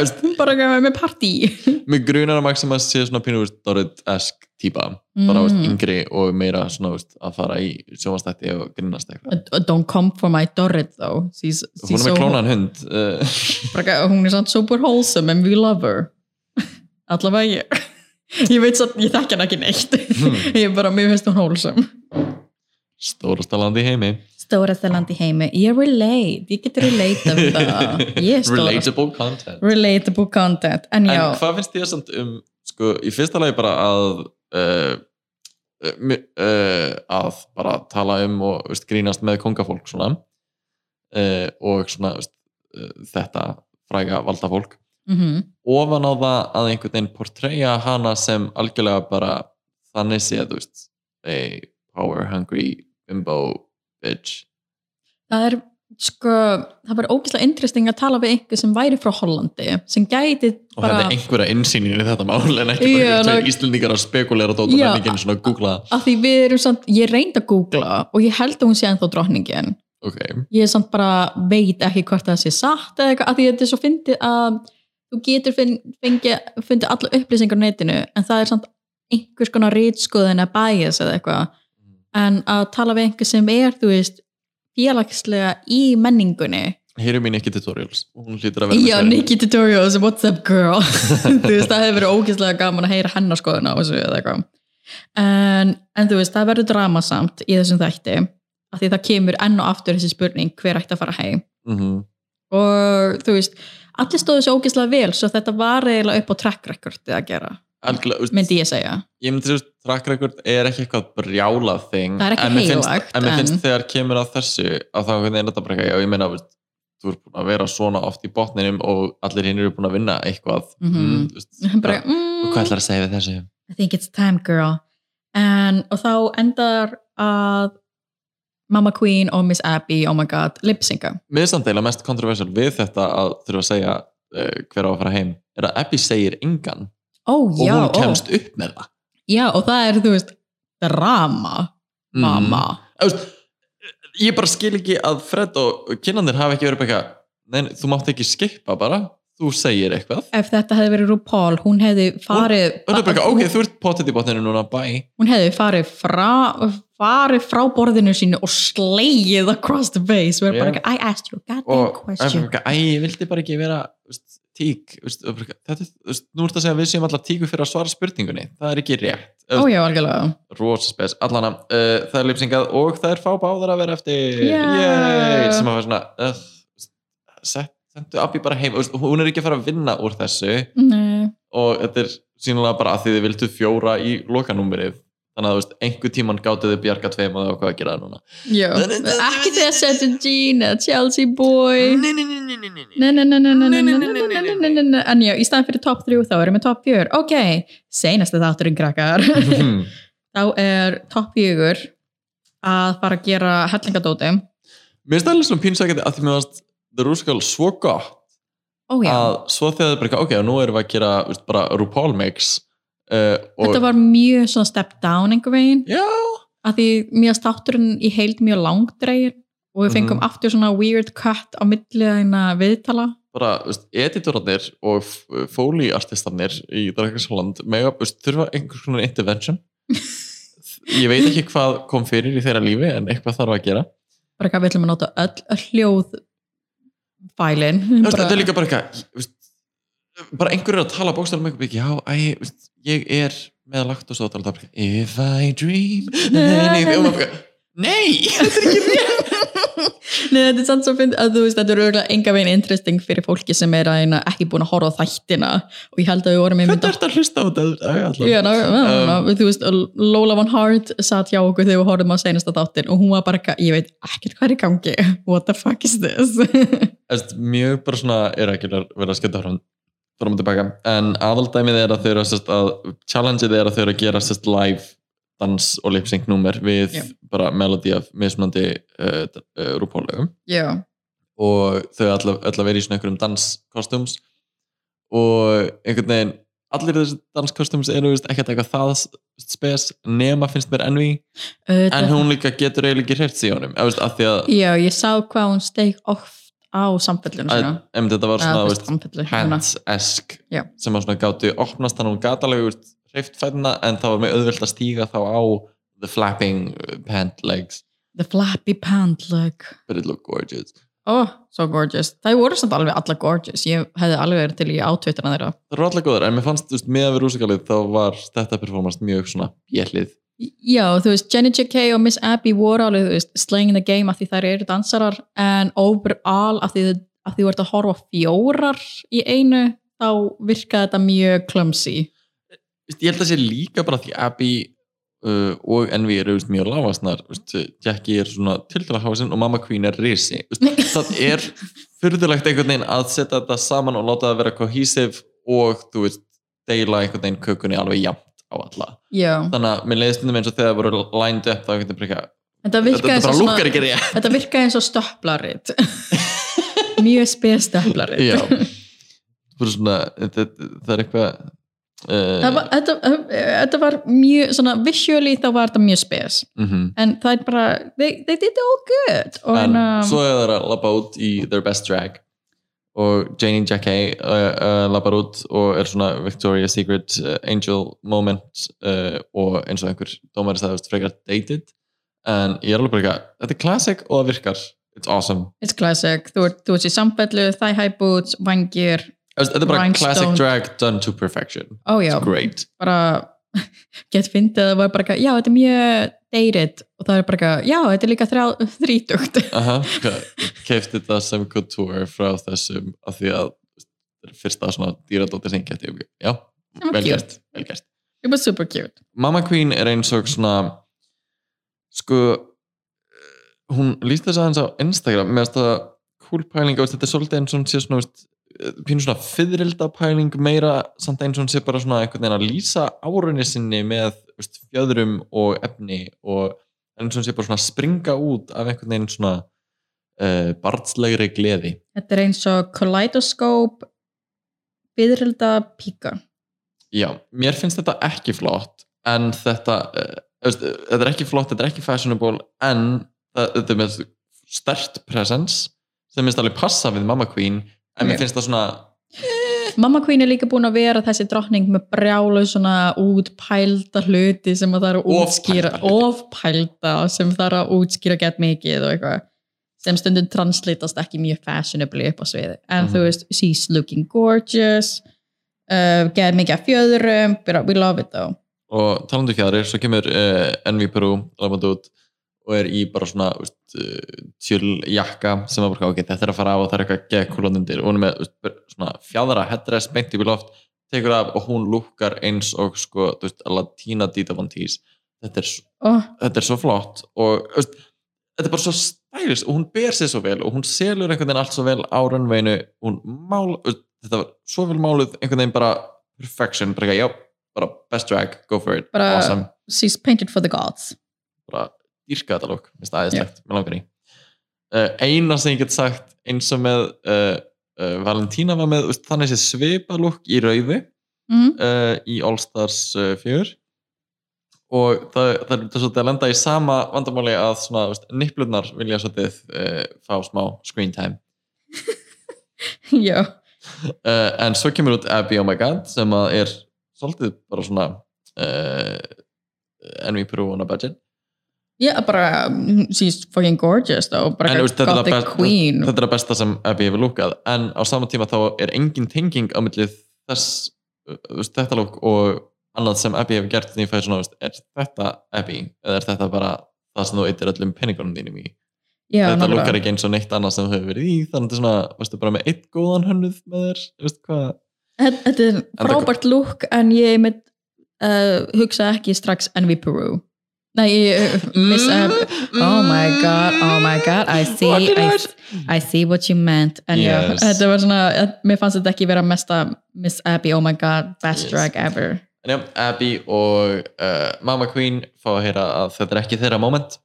C: veist,
B: bara ekki með partí
C: mig grunar að Maxima sé svona pínu veist, Dorrit-esk típa bara veist, yngri og meira svona veist, að fara í sjónvastætti og grinnast eitthvað
B: don't come for my Dorrit though she's,
C: hún
B: she's
C: er
B: so
C: með klónan hund uh,
B: Braga, hún er samt super wholesome and we love her allavega ég ég veit satt, ég þekki hann ekki neitt
C: Hmm.
B: ég er bara, mér finnst hún wholesome
C: stórasta landi í heimi
B: stóra þelandi heimi, ég relate ég get relate af það ég er stóra,
C: relatable content
B: relatable content en já,
C: En hvað finnst þér samt um sko, í fyrsta lagi bara að uh, uh, að bara tala um og veist, grínast með kongafólk svona uh, og svona veist, uh, þetta fræga valdafólk
B: mhm,
C: ofan á það að einhvern veginn portreyja hana sem algjörlega bara þannig sé að þú veist a power hungry bimbo bitch
B: það er sko, það var ógeðslega interesting að tala við einhver sem væri frá Hollandi sem gæti
C: og bara,
B: bara
C: hefði einhverja innsýnin í þetta mál en ekki bara
B: Já,
C: yeah,
B: ná-
C: tveir íslendingar að spekulera dóta
B: Já,
C: yeah, en ekki einu svona að googla
B: að því við erum samt, ég reyndi að googla og ég held að hún sé ennþá drottningin
C: ok,
B: ég er samt bara veit ekki hvort það sé satt eða eitthvað, af því þetta er svo fyndið að þú getur finn- fengið fundið alla upplýsingar á netinu, en það er samt einhvers konar rítskoðin að bæjas eða eitthvað, en að tala við einhver sem er, þú veist félagslega í menningunni
C: heyri mín ekki tutorials hún hlýtur að vera með
B: Já,
C: svari.
B: Nikki Tutorials, what's up girl þú veist, það hefur verið ógeðslega gaman að heyra hennar skoðuna á þessu eða eitthvað en, en þú veist, það verður dramasamt í þessum þætti, af því það kemur enn og aftur þessi spurning hver ætti að fara heim
C: Mhm.
B: og þú veist allir stóðu svo ógeðslega vel svo þetta var eiginlega upp á track recordið að gera
C: Algjörlega, þú veist,
B: myndi ég segja
C: ég myndi segja, þú veist, track record er ekki eitthvað brjálað þing
B: Það er ekki
C: en mér finnst-
B: heilagt,
C: en mér
B: en-
C: finnst þegar kemur að þessu að þá hvernig er þetta bara eitthvað, já ég meina þú veist, þú er búin að vera svona oft í botninum og allir hinn eru búin að vinna eitthvað
B: Mhm.
C: mm, þú veist,
B: bara,
C: bara, og hvað
B: mm,
C: ætlar að segja við þessu
B: I think it's time girl en, og þá endar að Mama Queen og Miss Abby, oh my god, lipsinga
C: mér er samt eila mest kontroversial við þetta að þurfa að segja uh, hver á að fara heim er að Abby segir engan
B: ó
C: og
B: já,
C: hún
B: ó.
C: kemst upp með það
B: já, og það er þú veist drama,
C: Mhm.
B: mamma
C: Þú veist, ég bara skil ekki að Fred og kynandir hafa ekki verið bara eitthvað, "Nei, nei, þú mátt ekki skipa bara, þú segir eitthvað
B: ef þetta hefði verið RuPaul, hún hefði farið
C: og það er bara eitthvað, ok, þú ert potið í botninu núna, bye
B: hún hefði farið frá, farið frá borðinu sínu og slegið across the face og er bara
C: Já.
B: ekki, I asked you a goddamn
C: og það er
B: question
C: bara eitthvað, æ, ég vildi bara ekki vera þú veist, tík, þú veist, og bara eitthvað, þetta, er- þú veist, nú ert að segja að við séum alltaf tíku fyrir að svara spurningunni, það er ekki rétt Þú veist,
B: ójá, algjörlega
C: rosa spes, allana uh, það er lipsingað og það er fá báðar að vera eftir
B: Yeah.
C: Yay! sem að fara svona uh, set, sendu Abbi bara heim Þú veist, hún er ekki að fara að vinna úr þessu
B: Nei.
C: og þetta er sínulega bara að því þið vildu fjóra í lokanúmerið þannig að þú veist, einhver tíman gáttu þau bjarga tveim og það var hvað að gera það núna
B: Já, ekki þegar setja Jean eða Chelsea boy
C: Nei, nei, nei, nei, nei, nei.
B: Nei, nei, nei, nei, nei, nei, nei, nei, nei, nei, nei, nei. En já, í staðan fyrir top 3 þá erum við top 4 Ok, seinasta þátturinn krakkar
C: Mhm.
B: Þá er top 4 að fara að gera hellingadóti
C: Mér finnst það alveg svona pínsækjandi að því mér varst The Rúskal svo gott
B: Ó já,
C: að svo þegar þau bara, eitthvað, ok, og nú erum við að gera þú veist, bara RuPaul mix uh, og,
B: þetta var mjög svona step down einhver veginn
C: Já,
B: að því mjög státturinn í heild mjög langdregin og við fengum
C: Mhm.
B: aftur svona weird cut á milli þeirna viðtala
C: bara, þú veist, editorarnir og f- foley-artistarnir í Drakkarsland mega, þú veist, þurfa einhvers konar intervention ég veit ekki hvað kom fyrir í þeirra lífi en eitthvað þarf að gera
B: bara hvað við ætlum að nota öll, öll hljóð fælin
C: Þú veist, þetta er líka bara eitthvað þú veist, bara einhverjur að tala bókstæðum um eitthvað, já, æ, þú veist, ég er með lagt og svo tala það if I dream then if, og maður bara, nei, þetta er ekki rétt
B: Nei, þetta er sann svo fynd að þú veist, þetta er auðvitað enga veginn interesting fyrir fólki sem er að eina ekki búin að horfa á þættina og ég held að við vorum einmitt
C: hvernig ertu að hlusta á þetta Æ, allan.
B: Já, ná, ná,
C: Um,
B: ná, þú veist, Lola von Hart satt hjá okkur þegar við horfum á seinasta þáttin og hún var bara, eitthvað, ég veit ekkert hvað er í gangi what the fuck is this
C: Erst, mjög bara svona er ekki að vera að skemmta fram fram og tilbaka en aðaldæmið er að þau eru að, sérst, að challengeið er að þau eru að gera sérst, live dans og lipsync númer við
B: Já.
C: bara melodi af mismunandi uh, uh, rúpólögum
B: Já,
C: og þau ætla, ætla að vera í svona einhverjum danskostums og einhvern veginn allir þessi danskostums eru veist, ekkert eitthvað það s- spes nema finnst mér enví en
B: auðvitað
C: hún líka getur eiginlega ekki hreift sig í honum eða, veist, af því að,
B: Já, ég sá hvað hún steik oft á samfellinu
C: að
B: sína
C: em, þetta var svona
B: Eða, þú
C: veist,
B: veist, samfellu hérna.
C: hands-esk
B: Já.
C: sem að svona gátu opnast þannig að hún gat alveg úr hreift fæðina en það var með auðvelt að stíga þá á the flapping uh, pant legs
B: The flappy pant look
C: but it looked gorgeous
B: Oh, so gorgeous. Það voru samt alveg alla gorgeous. Ég hefði alveg verið til í átvitana þeirra.
C: það var alltaf góður en mér fannst þú veist, með að vera úsikalið þá var þetta performance mjög svona bjellið
B: Já, þú veist, Jenny J.K. og Miss Abby voru alveg, þú veist, slaying in the game af því þær eru dansarar en overall af því, af því þú ert að horfa á fjórar í einu þá virkaði þetta mjög clumsy.
C: Vist, ég held að sé líka bara því Abby uh, og Envy eru vist, mjög lágasnar vist, Jackie er svona tildulega hásinn og Mama Queen er risi vist, það er fyrðulegt einhvern veginn að setja þetta saman og láta það vera cohesive og þú veist deila einhvern veginn kökunni alveg jafnt á alla
B: Já,
C: þannig að mér leiðist stundum eins og þegar það voru lined up þá einhvern veginn bara eitthvað,
B: þetta
C: þetta
B: virkaði
C: þetta
B: eins og
C: bara
B: svona,
C: lukkar ekki rétt
B: þetta virkaði eins og stöplarit. mjög spes stöplarit.
C: já Bara svona, þetta, það er eitthvað
B: Það
C: uh,
B: var, þetta, þetta var mjög, svona visually þá var þetta mjög spes.
C: mm -hmm.
B: en það er bara they, they did all good og
C: en
B: en, um,
C: svo er það að labba út í Their Best Drag og Janie Jacquet uh, uh, labbar út og er svona Victoria's Secret uh, Angel moment uh, og eins og einhver dómari sagði þú veist, frekar dated en ég er alveg bara eitthvað, þetta er classic og það virkar it's awesome,
B: it's classic, þú ert, þú ert í samfellu thigh high boots, vangir
C: Þú veist, þetta er bara
B: Rhinestone.
C: classic drag done to perfection
B: ó já,
C: it's great
B: bara get fyndið að það var bara eitthvað, já, þetta er mjög dated og það er bara eitthvað, já, þetta er líka þrjá, þrítugt
C: Aha, kefti þetta sem couture frá þessum af því að þetta er fyrsta svona dýradóttir sem ég kefti já,
B: var
C: vel
B: cute.
C: gert, vel gert
B: it was super cute
C: Mama Queen er eins og svona sko eh, hún lýst þess aðeins á Instagram með þetta cool pæling og þetta er svolítið eins og hún sé svona veist, eh, pínu svona fyririlda pæling meira samt eins og hún sé bara svona einhvern veginn að lýsa árunni sinni með veist, fjöðrum og efni og eins og hún sé bara svona að springa út af einhvern veginn svona uh, barnslegri gleði
B: þetta er eins og kaleidoscope byðrilda píka
C: Já, mér finnst þetta ekki flott en þetta uh, veist, eh, þetta er ekki flott, þetta er ekki fashionable en það, þetta er með stert presence sem minnst alveg passa við Mamma Queen en mér
B: Ok.
C: finnst það svona
B: Mamma Queen er líka búin að vera þessi drottning með brjálu svona útpælda hluti sem að það er að útskýra
C: Ofpælda hluti.
B: ofpælda sem það er að útskýra gett mikið og eitthvað sem stundum translítast ekki mjög fashionably upp á sviði en
C: Mhm.
B: þú veist, she's looking gorgeous uh, gett mikið af fjöðurum bara, we love it though
C: og talandu fjari, svo kemur uh, Envy Peru, lafandi út og er í bara svona veist, uh, tjöl jakka sem er bara ok, þetta er að fara af og það er eitthvað gegn kúlanundir og hún er með veist, bara svona fjadra headdress beint upp í loft, tekur af og hún lukkar eins og sko, þú veist, latína Dita Von Teese þetta er, s-
B: oh,
C: þetta er svo flott og veist, þetta er bara svo stælist og hún ber sig svo vel og hún selur einhvern veginn allt svo vel á rönnveinu hún mál, veist, þetta var svo vel máluð einhvern veginn bara perfection bara, eitthvað, já, bara best drag, go for it
B: Bara-
C: awesome,
B: she's painted for the gods
C: bara dýrka þetta lók minnst það aðeinslegt, mér langar í uh, eina sem ég get sagt eins og með uh, uh, Valentína var með veist, þannig sé svipa lók í rauði
B: mm.
C: uh, í All Stars uh, 4 og það, það er svolítið að lenda í sama vandamáli að svona, veist, nipplunar vilja svolítið uh, fá smá screen time
B: já,
C: uh, en svo kemur út Abby Oh My God sem að er svolítið bara svona uh, enemy Peru on a budget
B: já, bara mm, she's fucking gorgeous though, bara
C: En,
B: en,
C: veist, þetta er
B: got the
C: það best-
B: queen
C: þetta er það besta sem Abby hefur lúkað en á sama tíma þá er engin tenging á milli þess uh, veist, þetta lúk og annað sem Abby hefur gert því að ég fæði svona, veist, er þetta Abby eða er þetta bara það sem þú eittir öllum peningunum þínum í
B: já,
C: þetta
B: nákvæmlega.
C: lukkar ekki eins og neitt annað sem þú hefur verið í þannig að svona, veistu, bara með eitt góðan hönnuð með þér, veistu hvað
B: Þetta þetta er frábært lúk en ég með uh, hugsa ekki strax Envy Peru Nei, ég, miss mm. Oh my god, oh my god I see,
C: mm. Fucking
B: I,
C: hell.
B: I see what you meant en
C: Yes.
B: já, þetta var svona, eh, mér fannst þetta ekki vera mesta Miss Abby, oh my god, best
C: Yes.
B: drag ever
C: En já, Abby og uh, Mama Queen fá að heyra að þetta er ekki þeirra moment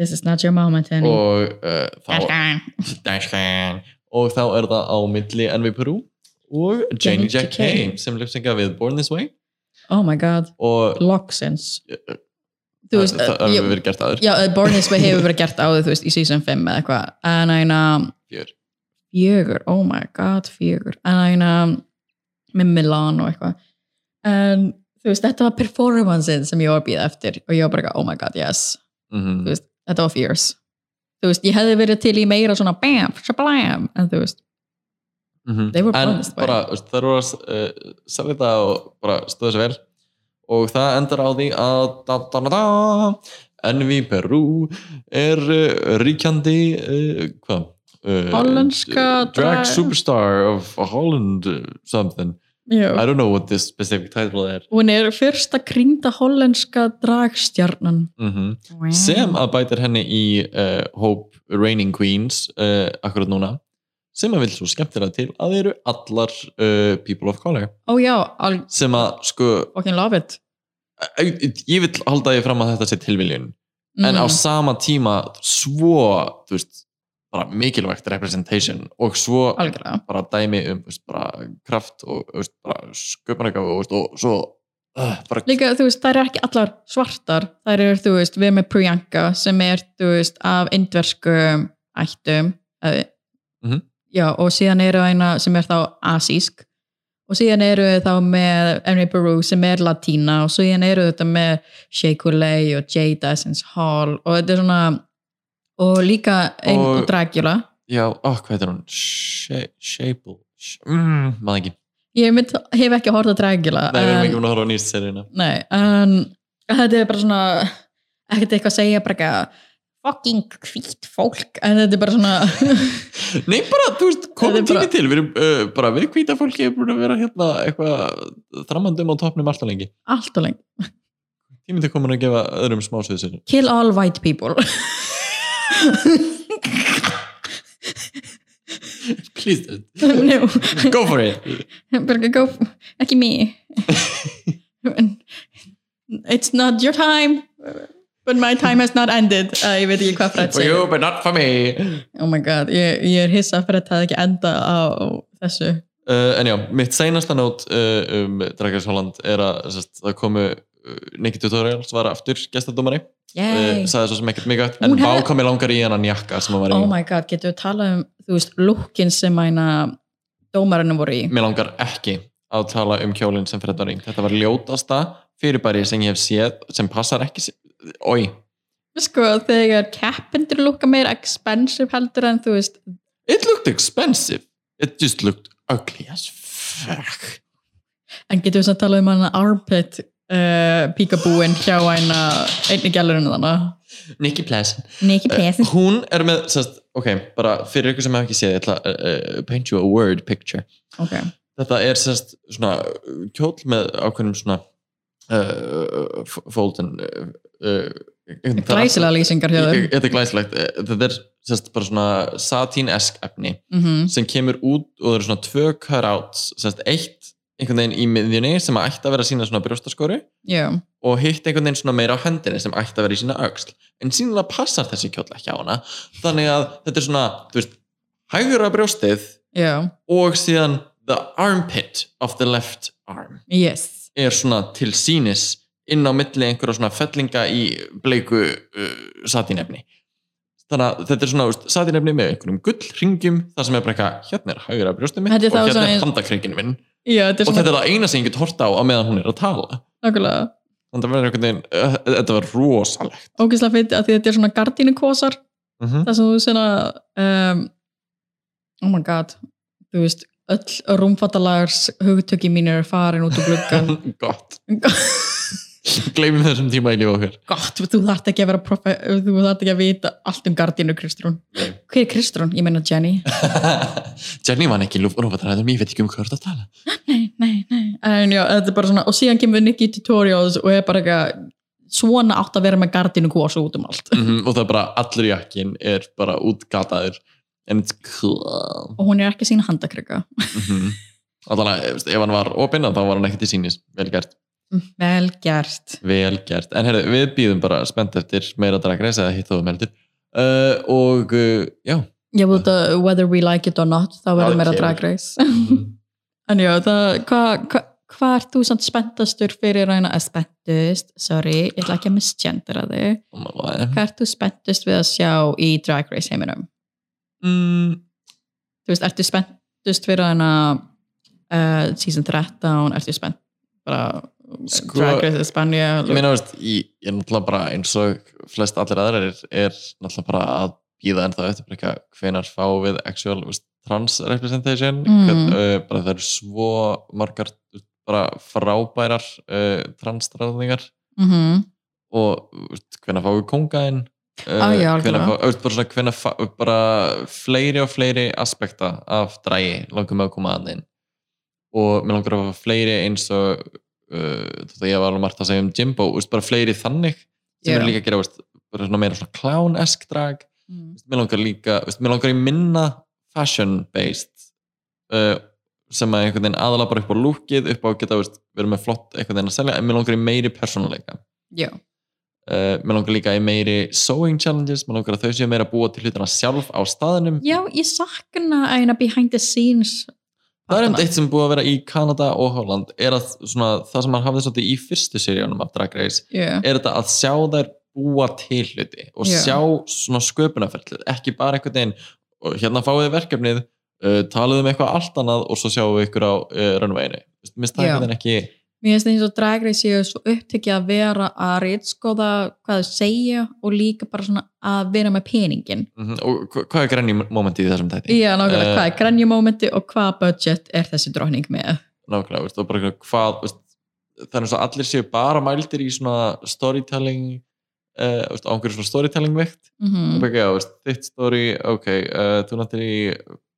B: This is not your moment, honey
C: og uh, þá Dashkan. og þá er það á milli Envy Peru og
B: Jenny
C: Janie Jack
B: JK.
C: Hay sem lyfsinga við Born This Way
B: Oh my god,
C: og
B: loksins
C: uh,
B: Þú
C: það
B: veist,
C: það
B: eh,
C: hefur
B: ég-
C: verið gert aður
B: Já, eh, Born This Way hefur verið gert áður, þú veist, í season 5 eða eitthvað, en æna
C: Fjör.
B: fjögur, oh my god, fjögur en æna með Milan og eitthvað en þú veist, þetta var performancein sem ég var að býða eftir og ég var bara, eitthvað, oh my god, yes
C: Mhm.
B: Þú veist, þetta var fjörs þú veist, ég hefði verið til í meira svona bam, shablam, en þú veist
C: Mhm.
B: They were
C: en
B: promised, by
C: bara þú veist, þær voru að uh, selja þetta og bara stöðu sér vel og það endar á því að da, da, da, da, Envi Perú er uh, ríkjandi uh, hvað? Uh,
B: Hollenska
C: drag
B: drag-
C: superstar of Holland uh, something I
B: Já.
C: don't know what this specific title er
B: hún er fyrsta kringda hollenska dragstjarnan
C: mm sem að bætir henni í uh, hóp Reigning Queens uh, akkurat núna sem að vil svo skemmtilega til að eru allar uh, people of color
B: ó já, I
C: sem að sko
B: fucking love it
C: ég ég vil halda því fram að þetta sé tilviljun en
B: Mm,
C: á sama tíma svo þú veist, bara mikilvægt representation og svo
B: algjörlega
C: bara dæmi um þú veist, bara kraft og þú veist, bara sköpunargáfu og, þú veist, og svo uh, bara
B: Líka, þú veist, það eru ekki allar svartar það eru, þú veist, við erum með Priyanka sem er, þú veist, af indverskum ættum eða-
C: Mhm.
B: já, og síðan eru eina sem er þá asísk og síðan eru við þá með Emily Peru sem er latína og síðan eru þetta með Sheikulei og Jada Essence Hall og þetta er svona og líka ein, og,
C: Og-
B: Dracula
C: já, oh, hvað heitir hún? Sha- Shable Sh- mm, maður ekki,
B: ég mynd, hef ekki horfð á Dracula
C: það erum
B: en-
C: ekki búin að horfa á nýst seríuna
B: Nei, en þetta er bara svona ekkert eitthvað að segja bara ekki að fucking hvít fólk en þetta er bara svona
C: nei bara, þú veist, komum
B: Þetta er
C: tími
B: bara-
C: til við erum uh, bara við hvíta fólki er búin að vera hérna eitthvað þramandum á topnum alltaf lengi
B: allt og lengi
C: tími til komin að gefa öðrum smá sviðsynum
B: kill all white people
C: please don't
B: no,
C: go for it
B: bara ekki go ekki me it's not your time but my time has not ended uh, ég veit ekki hvað Fred
C: for
B: segir
C: you but not for me
B: oh my god, ég, ég er hissa að Fred hafði ekki enda á þessu
C: uh, en já, mitt seinasta nót uh, um Dragars Holland er að sest, það komu uh, Nicky Tutorials var aftur gestadómari uh,
B: yay
C: sagði svo sem ekkert mikið
B: Hún
C: en hef...
B: hefði-
C: vá komi langar í hennan jakka sem hann var í
B: oh my god, getur við talað um þú veist, lukkin sem mæna dómarinu voru í
C: mér langar ekki að tala um kjólinn sem Fred var í þetta var ljótasta fyrirbæri sem ég hef séð sem passar ekki oi,
B: sko, þegar keppendur lukka meira expensive heldur en þú veist
C: it looked expensive it just looked ugly as fuck
B: en getur við samt talað um hana armpit uh, píkabúin hjá hana einni gælurinn þannig
C: Nicky Pleasant
B: Nikki Pleasant
C: hún er með sest, ok, bara fyrir ykkur sem hef ekki séð ég ætla að uh, paint you a word picture
B: Eh, ok,
C: þetta er sest, svona uh, kjól með ákveðnum svona uh, Fólten uh, uh,
B: Glæsilega lýsingar hjá þeim.
C: Þetta er glæsilegt Eh, Þetta er sérst, bara svona satín-esk efni
B: Mhm.
C: sem kemur út og það eru svona tvö cutouts sérst, eitt einhvern veginn í miðjunni sem ætti að vera að sína svona brjóstaskóri
B: Já,
C: og hitt einhvern veginn svona meira á hendinni sem ætti að vera í sína öxl en sínilega passar þessi kjóll ekki á hana þannig að þetta er svona, þú veist hægra brjóstið
B: já,
C: og síðan the armpit of the left arm
B: yes.
C: er svona til sínis inn á milli einhverja svona fellinga í bleiku uh, satínefni þannig að þetta er svona veist, satínefni með einhverjum gullringjum þar sem er bara eitthvað, hérna er hægra brjóstið mitt
B: Þetta er
C: og
B: þá
C: hérna
B: svona-
C: er handakringin minn
B: Já, þetta er
C: og
B: svona
C: þetta er það eina sem ég get hort á á meðan hún er að tala
B: nákvæmlega
C: þannig að það verður einhvern veginn, uh, þetta var rosalegt
B: ógeðslega fyrir að því þetta er svona gardínukosar
C: mm -hmm.
B: það sem þú svona um, oh my god þú veist, öll rúmfattalagars hugtöki mín er farin út úr gluggan
C: gott, gleymum þessum tíma í lífi okkar
B: gott, þú þarft ekki að vera profe, þú þarft ekki að vita allt um gardínu Kristrún
C: Nei.
B: hver er Kristrún? Ég meina Jenny
C: Jenny man ekki lúfrúfatræðum, ég veit ekki um hvað þú ert að tala
B: nei, nei, nei en já, þetta er bara svona, og síðan kemur Nicky Tutorials og er bara eitthvað svona átt að vera með gardínukos út um allt
C: mm og það er bara allur jakkin er bara útgataður en it's cool
B: og hún er ekki sína handakrygga
C: mm -hmm. allan ef hann var opinn þá var hann ekkert í sínis, vel gert
B: vel gert
C: vel gert, en herru, við býðum bara spennt eftir meira dragreis eða hitt þú meldir uh, og uh, já
B: Já, út að whether we like it or not þá
C: Já,
B: verður meira
C: kemur.
B: drag race En já, það, hvað hva, hva ert þú samt spenntastur fyrir að að spenntust, sorry, ég ætla ekki að misgendera þig.
C: mm
B: Hvað ert þú spenntust við að sjá í drag race heiminum?
C: -hmm.
B: Þú veist, ertu spenntust fyrir að uh, season 13, ertu spennt bara
C: Sko,
B: drag race Espanja
C: Ég meina, veist, ég, ég er náttúrulega bara eins og flest allir aðrar er, er náttúrulega bara að býða en það eftir bara eitthvað hvenar fá við actual veist, trans representation
B: Mm.
C: hvern, uh, bara það eru svo margar þú veist, bara frábærar uh, transstráðningar
B: mm -hmm.
C: og veist, hvenar fá við kongaðinn
B: Á, já,
C: hvenar fá,
B: algjörlega.
C: veist, bara, svona, hvenar fá, bara fleiri og fleiri aspekta af drægi langum að koma að inn og mér langar að fá fleiri eins og uh, þetta ég var alveg margt að segja um Jimbo veist, bara fleiri þannig sem
B: Já.
C: er líka að gera veist, bara svona meira svona clown-esk drag veist, mér langar líka, veist, mér langar í minna fashion-based uh, sem að einhvern veginn aðala bara upp á lúkið, upp á að geta veist, verið með flott einhvern veginn að selja, en mér langar í meiri persónuleika
B: Já,
C: uh, mér langar líka í meiri sewing challenges, mér langar að þau séu meira að búa til hlutina sjálf á staðinum
B: já, ég sakna eina behind the scenes
C: það er um eitt sem er búið að vera í Kanada og Holland er að svona, það sem maður hafði svolítið í fyrstu seríunum af Drag Race
B: Já,
C: er þetta að sjá þær búa til hluti og
B: Já.
C: sjá svona sköpunarferðlið ekki bara einhvern veginn og hérna fáið þið verkefnið uh, talið um eitthvað allt annað og svo sjáum við ykkur á uh, runwayinu, Þú veist, minnst það
B: Já.
C: einhvern veginn ekki
B: Mér finnst eins og Drag Race séu svo upptekið að vera að reytskoða hvað þau segja og líka bara svona að vera með peningin.
C: Mhm, og hva- hvað er grenni momentið í þessum tætti?
B: Já, nákvæmlega,
C: Eh.
B: hvað er grenjumómenti og hvaða budget er þessi drókning með?
C: nákvæmlega, veist, og bara eitthvað hvað veist, það er eins og allir séu bara mældir í svona storytelling uh, veist, á einhverju svona storytelling vekt
B: Mm
C: og bara ekki, já, veist, þitt story ok, uh, þú nættir í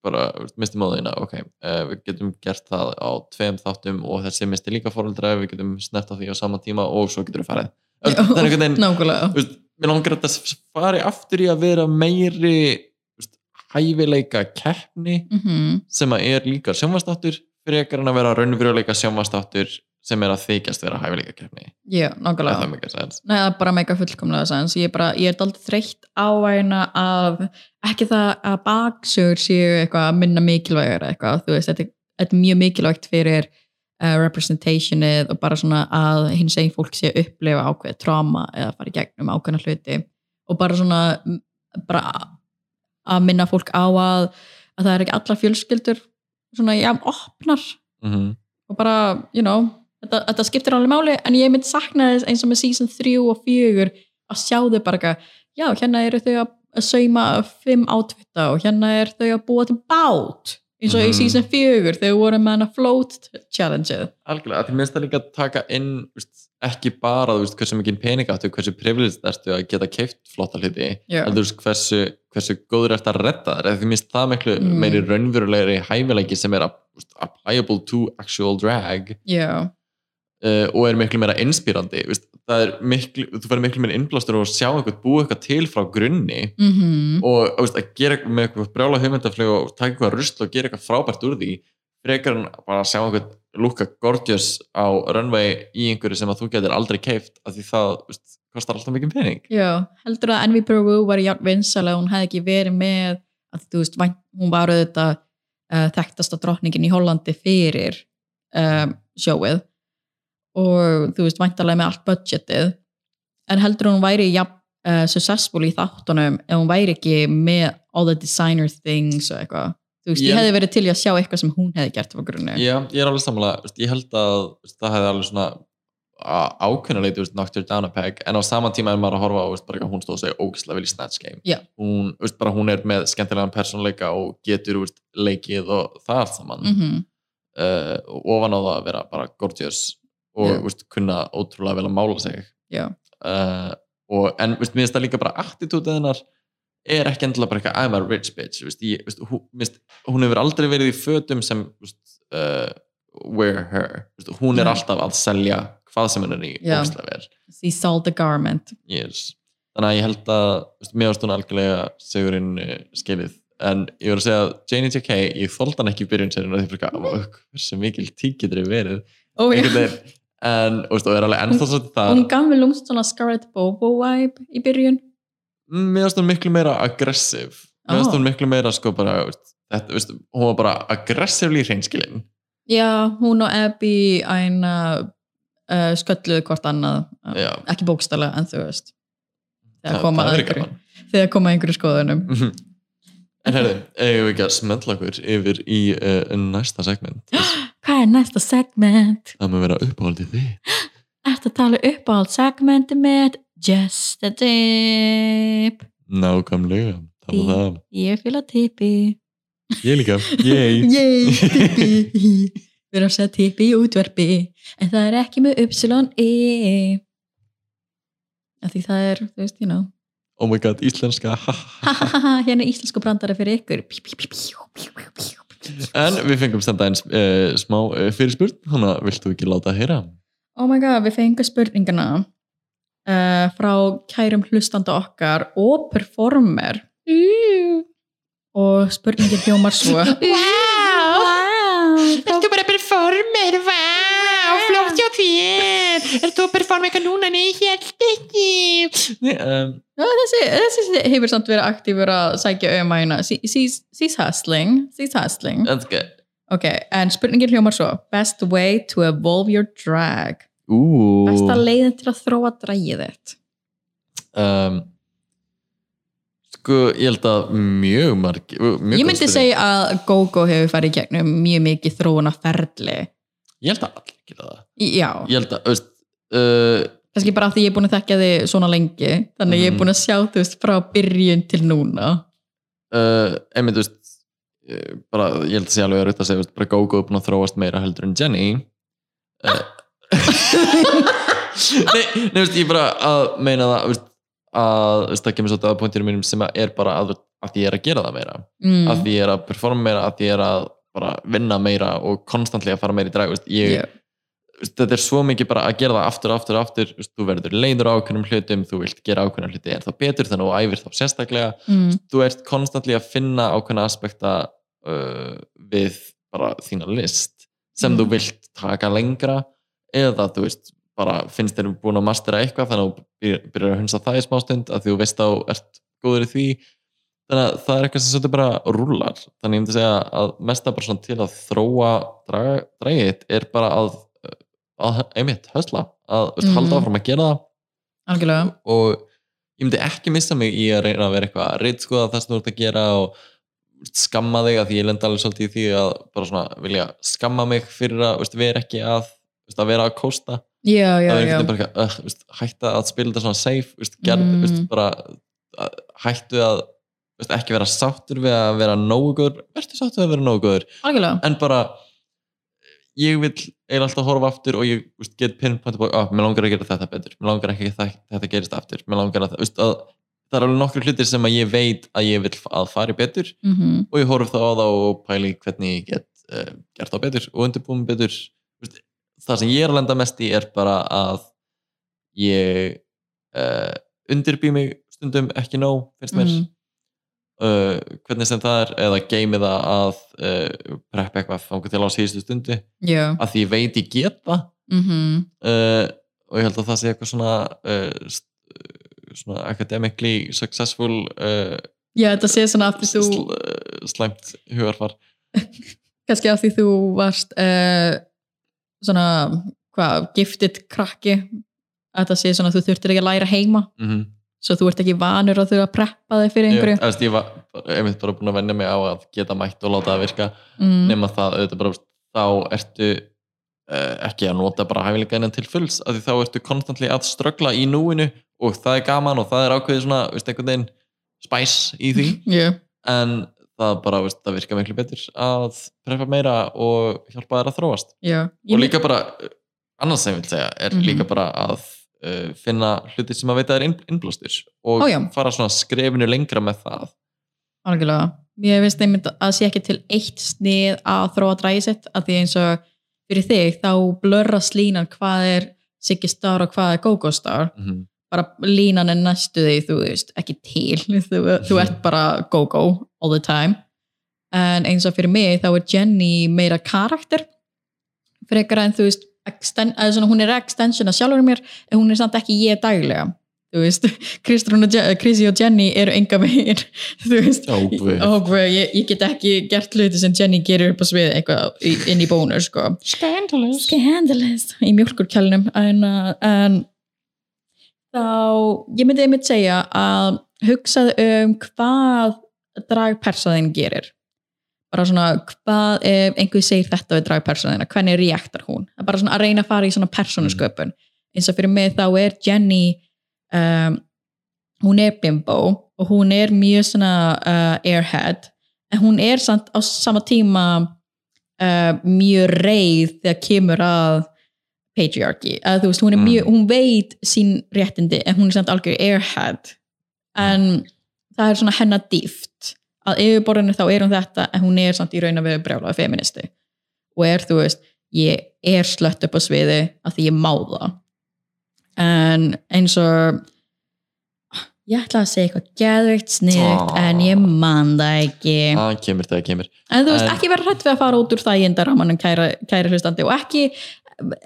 C: bara, veist, misti móðina, ok uh, við getum gert það á tveim þáttum og þessi misti líka fóröldra, við getum snert á því á sama tíma og svo getur við farið Veist, það er einhvern veginn,
B: Nákvæmlega,
C: veist, mér langar að það fari aftur í að vera meiri veist, hæfileika keppni
B: mm
C: sem að er líka sjónvastáttur frekar en að vera raunveruleika sjónvastáttur sem er að þykjast vera hæfileika keppni
B: já,
C: er það
B: nákvæmlega.
C: mikið sens
B: Nei, það er bara meika fullkomlega sens. Ég er bara, ég er daldið þreytt á hægna af, ekki það að baksögur séu eitthvað að minna mikilvægur eða eitthvað, þú veist, þetta er, þetta er mjög mikilvægt fyrir uh, representationið og bara svona að hins einn fólk sé að upplifa ákveðið tráma eða fara í gegnum ákveðna hluti og bara svona m, bara að minna fólk á að, að það er ekki allar fjölskyldur svona já, opnar
C: mm
B: og bara, you know þetta, þetta skiptir alveg máli, en ég mynd sakna þess eins og með season 3 og 4 að sjá þau bara eitthvað, já, hérna eru þau að að sauma fimm átvita og hérna er þau að búa til bát eins og í
C: Mhm.
B: season 4 þau voru með hana float challenge
C: algjörlega, að því minnst það líka að taka inn veist, ekki bara þú veist, hversu mikið peninga áttu, hversu privilegist ertu að geta keift flotta hluti,
B: Já.
C: heldur þú veist hversu, hversu góður ertu að redda þér, eða því minnst það miklu
B: Mm.
C: meiri raunverulegri hæfileiki sem er að, veist, applicable to actual drag
B: Já,
C: Eh, uh, og er miklu meira inspírandi veist, það er miklu, þú verður miklu meira innblástur og sjá eitthvað, búa eitthvað til frá grunni
B: Mhm.
C: og veist, að gera með eitthvað brjála hugmyndaflug og taka eitthvað rusl og gera eitthvað frábært úr því frekar en bara að sjá eitthvað lúka gorgeous á runway í einhverju sem að þú getur aldrei keift af því það veist, kostar alltaf mikið pening
B: Já, heldur að Envy Peru var játn vinsalega, hún hefði ekki verið með að þú veist, væn- hún var auðvitað uh, þekktasta drottningin í Hollandi fyrir um, sjóið og þú veist, væntalega með allt budgetið en heldur að hún væri jafn uh, successful í þáttunum ef hún væri ekki með all the designer things og eitthvað þú veist,
C: Ég-
B: ég hefði verið til í að sjá eitthvað sem hún hefði gert frá grunni
C: Já, ég er alveg sammála, veist, ég held að veist, það hefði alveg svona ákveðnuleiti knocked her down a peg en á sama tíma er maður að horfa á veist, bara hvað hún stóð að segja ógislega vel í Snatch Game
B: Já.
C: hún, veist, bara, hún er með skemmtilegan persónuleika og getur veist, leikið og það allt saman
B: mm -hmm.
C: uh, ofan á það að vera bara gorgeous og
B: Já.
C: yeah. veist, kunna ótrúlega vel að mála sig
B: Já.
C: uh, og, en veist, mér finnst það líka bara attitútið hennar er ekki endilega bara eitthvað I'm a rich bitch veist, ég, veist, hún, veist, hún hefur aldrei verið í fötum sem veist, uh, wear her veist, hún er
B: Nei.
C: alltaf að selja hvað sem hennar í
B: Já.
C: ógislega vel
B: she sold the garment
C: yes. þannig að ég held að veist, mér varst hún algjörlega segurinn skilið en ég voru að segja að Janie J.K. ég þóld hann ekki í byrjun sérinn og því fyrir hvað hversu mikil tíkitur er verið
B: oh, já.
C: einhvern veginn en, og veist, og er alveg ennþá svo það
B: hún gaf mér lúmst svona Scarlett Bobo vibe í byrjun
C: Mm, mér varst hún miklu meira aggressiv mér varst
B: Ah.
C: hún miklu meira sko bara veist, þetta, veist, hún var bara aggressivli hreinskilin
B: Já, hún og Abby æna uh, skölluðu hvort annað
C: Já.
B: ekki bókstælega en þú veist þegar
C: það,
B: koma
C: það
B: að
C: er
B: einhverju,
C: gaman
B: þegar koma að einhverju skoðunum
C: Mhm. en herðu, eigum við ekki að smendla okkur yfir í uh, næsta segment
B: Hvað er næsta segment?
C: það maður vera uppáhaldið þitt
B: Ertu að tala upp á allt segmenti með Just a Tip
C: Nákvæmlega, það var það.
B: Ég fýla tippi
C: Ég líka, yay.
B: Yay, tippi Við erum að segja tippi í útverfi en það er ekki með Y-E af því það er, þú veist, you know
C: Oh my god, íslenska. ha, ha, ha.
B: Hahaha, hérna er íslensku brandari fyrir ykkur pí, pí, pí, pí, pí, pí, pí.
C: en við fengum senda eins uh, smá uh, fyrirspurn, þannig að viltu ekki láta að heyra?
B: Oh my god, við fengum spurningana uh, frá kærum hlustanda okkar og performer og spurningin hljómar svo
D: Wow! Ertu bara performer, wow! Flott hjá þér! Ertu að performa eitthvað núna? Nei, helt ekki!
C: Nei, um,
B: Já, þessi, þessi hefur samt verið aktífur að sækja um að hérna She- she's, she's hustling, she's hustling
C: that's good.
B: ok, en spurningin hljómar svo best way to evolve your drag
C: Ú.
B: besta leiðin til að þróa dragið þitt
C: Um, sko, ég held að mjög margi,
B: Ég
C: mjög góð
B: myndi
C: spurning.
B: segja að GóGó hefur farið í gegnum mjög mikið þróunaferli.
C: Ég held að allir gera það.
B: Í- Já,
C: Ég held að, veist, uh,
B: kannski bara af því ég er búin að þekka þig svona lengi, þannig ég er
C: Mhm.
B: búin að sjá þú veist frá byrjun til núna.
C: uh, einmitt, þú veist eh, bara, ég held að sé alveg að að segja þú veist, bara GóGó er búin að þróast meira heldur en Jenny uh, Nei, nei, veist, ég er bara að meina það þú veist, að þú veist, það kemur svolítið að pointirum mínum sem að er bara að, að ég er að gera það meira
B: Mm.
C: að ég er að performa meira, að ég er að bara vinna meira og konstantli að fara meira í drag þú veist, ég,
B: Já.
C: veist, þetta er svo mikið bara að gera það aftur, aftur, aftur þú veist, þú verður leiður á ákveðnum hlutum þú vilt gera ákveðnum hluti er þá betur þannig að þú æfir þá sérstaklega
B: Mm.
C: þú ert konstantli að finna ákveðna aspekta uh, við bara þína list sem
B: Mm.
C: þú vilt taka lengra eða þú veist, bara finnst þér búin að mastera eitthvað þannig að þú byrjar- byrjar að hunsa það í smástund að því þú veist að þú ert góður í því þannig að það er eitthvað sem svolítið bara rúlar þannig ég myndi segja að mesta bara svona til að þróa draga- dragið þitt er bara að, uh, að einmitt hösla, að þú veist,
B: Mhm.
C: halda áfram að gera það
B: Algjörlega.
C: og ég myndi ekki missa mig í að reyna að vera eitthvað að reytskoða það sem þú ert að gera og skamma þig að því ég lenda alveg svolítið í því að bara svona vilja skamma mig fyrir að veist, vera ekki að veist, að vera að kósta
B: Já, já,
C: það er
B: já.
C: einhvern veginn bara eitthvað, uh, veist, hætta að spila þetta svona safe veist, gerð,
B: Mm.
C: veist, bara, að, hættu að veist, ekki vera sáttur við að vera nógu góður verður sáttur við að vera nógu góður
B: Algjörlega.
C: en bara ég vil eiginlega alltaf horfa aftur og ég veist, get pinpoint og ah, mér langar að gera þetta betur mér langar ekki að það, þetta gerist aftur mér langar að það, veist, að, það er alveg nokkru hlutir sem að ég veit að ég vil að fari betur
B: Mm -hmm.
C: og ég eh, horf þá á það og pæli hvernig ég get uh, gert þá betur og undirbúum betur veist, það sem ég er að lenda mest í er bara að ég uh, undirbý mig stundum ekki nóg, finnst mér
B: Mhm.
C: uh, hvernig sem það er eða geymi það að uh, preppa eitthvað þangu til á síðustu stundu
B: já,
C: að því ég veit ég get það
B: mhm,
C: uh, og ég held að það sé eitthvað svona uh, st- uh, svona academically successful uh,
B: já, þetta sé svona aftur þú
C: sl uh, slæmt hugarfar
B: kannski af því þú varst uh, svona hvað, gifted krakki að það sé svona að þú þurftir ekki að læra heima
C: mm -hmm.
B: svo þú ert ekki vanur að þurfa að preppa þig fyrir
C: ég,
B: einhverju
C: veist, ég var bara- einmitt bara búin að venja mig á að geta mætt og láta það virka
B: mm,
C: nema það auðvitað bara veist, þá ertu uh, ekki að nota bara hæfileika hennan til fulls af því þá ertu konstantli að ströggla í núinu og það er gaman og það er ákveðið svona veist, einhvern veginn spæs í því
B: já,
C: en það bara, veist, það virka miklu betur að preppa meira og hjálpa þær að þróast
B: já
C: og líka bara, uh, annars sem ég vil segja er
B: Mhm.
C: líka bara að uh, finna hluti sem að veita þær inn, innblástur og
B: Ó, já.
C: fara svona skrefinu lengra með það
B: Algjörlega. Mér finnst einmitt að sé ekki til eitt snið að þróa dræsett að því eins og fyrir þig þá blörra slínan hvað er Siggy Star og hvað er Go-Go Star
C: mm -hmm.
B: bara línan er næstu því þú veist ekki til, þú, þú ert bara Go-Go all the time en eins og fyrir mig þá er Jenny meira karakter frekar en þú veist extend, eða svona, hún er extension að sjálfur mér en hún er samt ekki ég daglega þú veist, Kristrún og Je- eh, Chrissy og Jenny eru enga megin þú veist,
C: Ó, guð.
B: Ó, guð, ég, ég get ekki gert hluti sem Jenny gerir upp á svið eitthvað í- inn í bónus sko
D: Scandalous.
B: scandalous í mjölkurkjálnum en, uh, en þá ég myndi einmitt segja að hugsaðu um hvað dragpersaðin gerir bara svona hvað ef einhver segir þetta við dragpersaðina, hvernig reaktar hún Það er bara svona að reyna að fara í svona persónusköpun eins og fyrir mig þá er Jenny um, hún er bimbo og hún er mjög svona uh, airhead en hún er samt á sama tíma uh, mjög reið þegar kemur að patriarchy að þú veist, hún, er
C: Mm.
B: mjög, hún veit sín réttindi en hún er samt algjör airhead en það er svona hennar dýft að yfirborðinu þá er hún þetta en hún er samt í raun að vera brjálaða feministi og er þú veist, ég er slött upp á sviði að því ég má það en eins og ég ætla að segja eitthvað geðveikt sniðugt
C: Ah.
B: en ég man það ekki
C: það kemur, það kemur
B: en þú veist,
C: En-
B: ekki vera hrætt við að fara út úr þægindaramannum kæra, kæra hlustandi og ekki,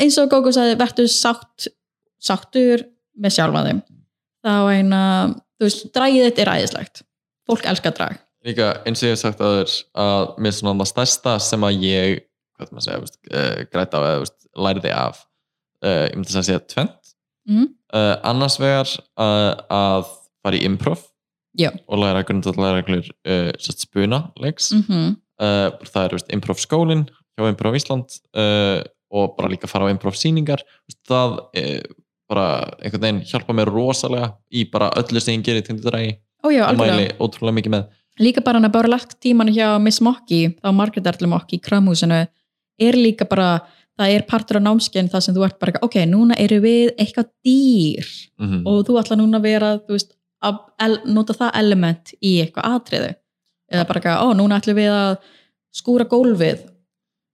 B: eins og Gógo sagði, verður sátt, sáttur með sjálfa þeim þá eina, þú veist, dragið þetta er æðislegt fólk elskar drag
C: líka eins og ég hef sagt að þér að mér er svona það stærsta sem að ég hvað maður segja, veist, uh, græta á eða veist, læriði af uh, ég myndi að segja tvent
B: Mhm.
C: uh, annars vegar uh, að fara í improv
B: Já.
C: og læra grundvallar reglur uh, sett spuna leiks
B: mm -hmm.
C: uh, það er veist, improv skólin hjá Improv Ísland uh, og bara líka fara á improv sýningar Veist, það uh, bara einhvern veginn hjálpa mér rosalega í bara öllu sem ég gerir tindudrægi
B: ójá,
C: og
B: algjörlega
C: mæli ótrúlega mikið með
B: líka bara hann að bara lagt tíman hjá Miss Mocky, þá Margaret Erlum Mocky í kramhúsinu, er líka bara það er partur á námskein það sem þú ert bara eitthvað, ok, núna eru við eitthvað dýr
C: mm
B: og þú ætla núna að vera þú veist, að el- nota það element í eitthvað atriði eða bara eitthvað, ó, núna ætlum við að skúra gólfið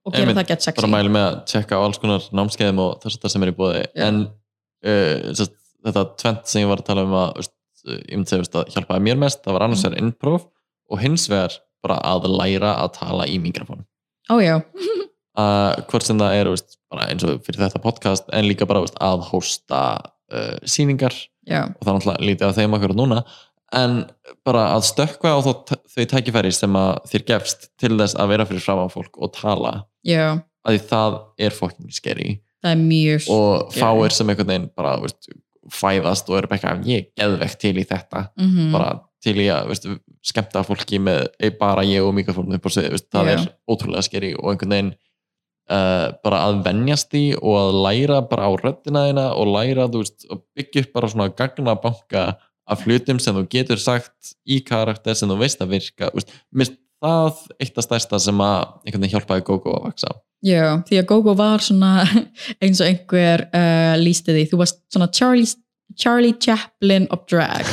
B: og gera
C: Einmitt,
B: það gett sexy
C: bara mæli með að tjekka á alls konar námskeiðum og þess að það sem er í bóði
B: Já.
C: en uh, sest, þetta tvent sem ég var að tala um að veist, eh, ég myndi segja veist, að hjálpaði mér mest það var annars vegar innpróf og hins vegar bara að læra að tala í mikrofónum
B: ó já,
C: uh, hvort sem það er veist, bara eins og fyrir þetta podcast en líka bara veist, að hósta uh, sýningar
B: já,
C: og það er náttúrulega lítið af þeim akkur núna en bara að stökkva á þá, þau tækifæri sem að þér gefst til þess að vera fyrir fram á fólk og tala
B: já
C: að því það er fucking scary
B: það er mjög
C: og
B: Skeri.
C: fáir sem einhvern veginn bara veist, fæðast og eru bara eitthvað ég er geðvegt til í þetta
B: mm -hmm.
C: bara til í að veist, skemmta fólki með eh, bara ég og mikrofónum upp á sviði, veist, það
B: Já.
C: er ótrúlega skeri og einhvern veginn uh, bara að venjast í og að læra bara á röddina þína og læra þú veist, og byggja upp bara svona gagnabanka af hlutum sem þú getur sagt í karakter sem þú veist að virka þú veist, mér finnst það eitt af stærsta sem að einhvern veginn hjálpaði Gogo að vaksa
B: Já, því að Gogo var svona eins og einhver uh, lísti því, þú varst svona Charlie, Charlie Chaplin of drag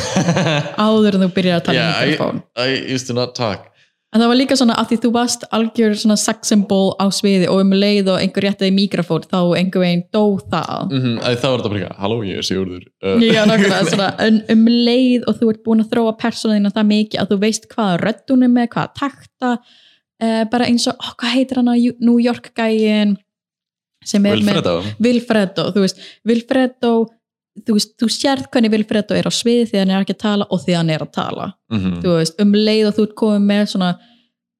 B: áður en þú byrjar að tala
C: Já,
B: yeah, í mikrofón.
C: I used to not talk
B: En það var líka svona að því þú varst algjör svona sex symbol á sviði og um leið og einhver réttaði mikrofón þá einhver veginn dó það.
C: mm -hmm. Það var þetta bara eitthvað, halló, ég er Sigurður uh,
B: Já, nákvæmlega, svona um, um leið og þú ert búin að þróa persónuðina það mikið að þú veist hvaða röddun er með, hvaða takta, uh, bara eins og, ó, hvað heitir hann á Ju- New York gæin sem er með
C: Vilfredo
B: Vilfredo, þú veist, Vilfredo, þú veist, þú sérð hvernig Vilfredo er á sviði því hann er ekki að tala og því hann er að tala
C: mm
B: þú veist, um leið og þú ert komið með svona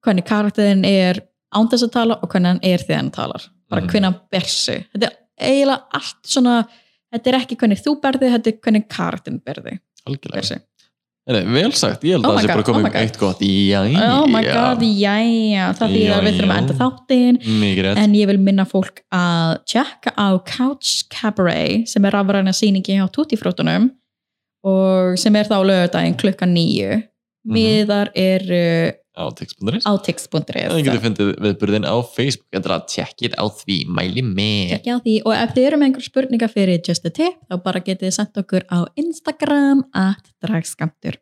B: hvernig karakterin er án þess að tala og hvernig hann er þegar hann talar bara
C: Mhm.
B: hvernig hann ber sig þetta er eiginlega allt svona þetta er ekki hvernig þú berði, þetta er hvernig karakterin berði, ber
C: Algjörlega
B: sig
C: Nei, Vel sagt, ég held
B: Oh
C: að
B: my
C: það sé
B: god,
C: bara
B: oh
C: komið
B: my
C: um
B: god.
C: eitt gott Jæja
B: oh my god, jæja það þýðir að við þurfum að enda þáttinn
C: Mikið rétt
B: en ég vil minna fólk að tjekka á Couch Cabaret sem er rafræna sýningi hjá Tuttifrótunum og sem er þá lögudaginn klukkan nýju
C: Mhm.
B: miðar eru
C: Á tix.is
B: á tix.is
C: Það getur fundið viðburðin á Facebook Þetta er að tjekkið á því, mæli með
B: Tekja á því og ef þið eru með einhver spurninga fyrir Just a Tip þá bara getið þið sendt okkur á Instagram at dragskamtur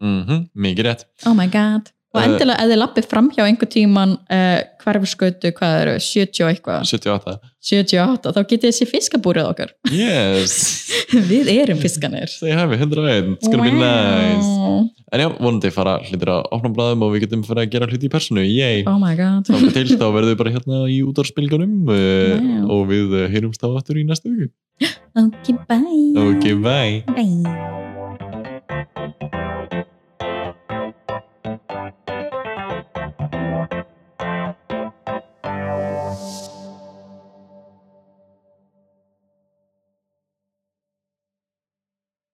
C: mm Mikið rétt
B: Oh my god Og
C: Eh.
B: endilega ef þið lappið fram hjá einhver tíman uh, hverfskötu, hvað eru, 70 og eitthvað
C: 78
B: 78, þá getið þið sér fiskabúrið okkur
C: Yes
B: Við erum fiskanir
C: Say hi, 101 It's gonna be nice En já, vonandi fara hlutir á opnablaðum og við getum fara að gera hluti í personu Yay
B: Oh my god
C: Þá til þá verðum við bara hérna í útarspilgunum uh,
B: Wow.
C: og við uh, heyrumst á aftur í næstu viku
B: Ok, bye
C: Ok, bye
B: Bye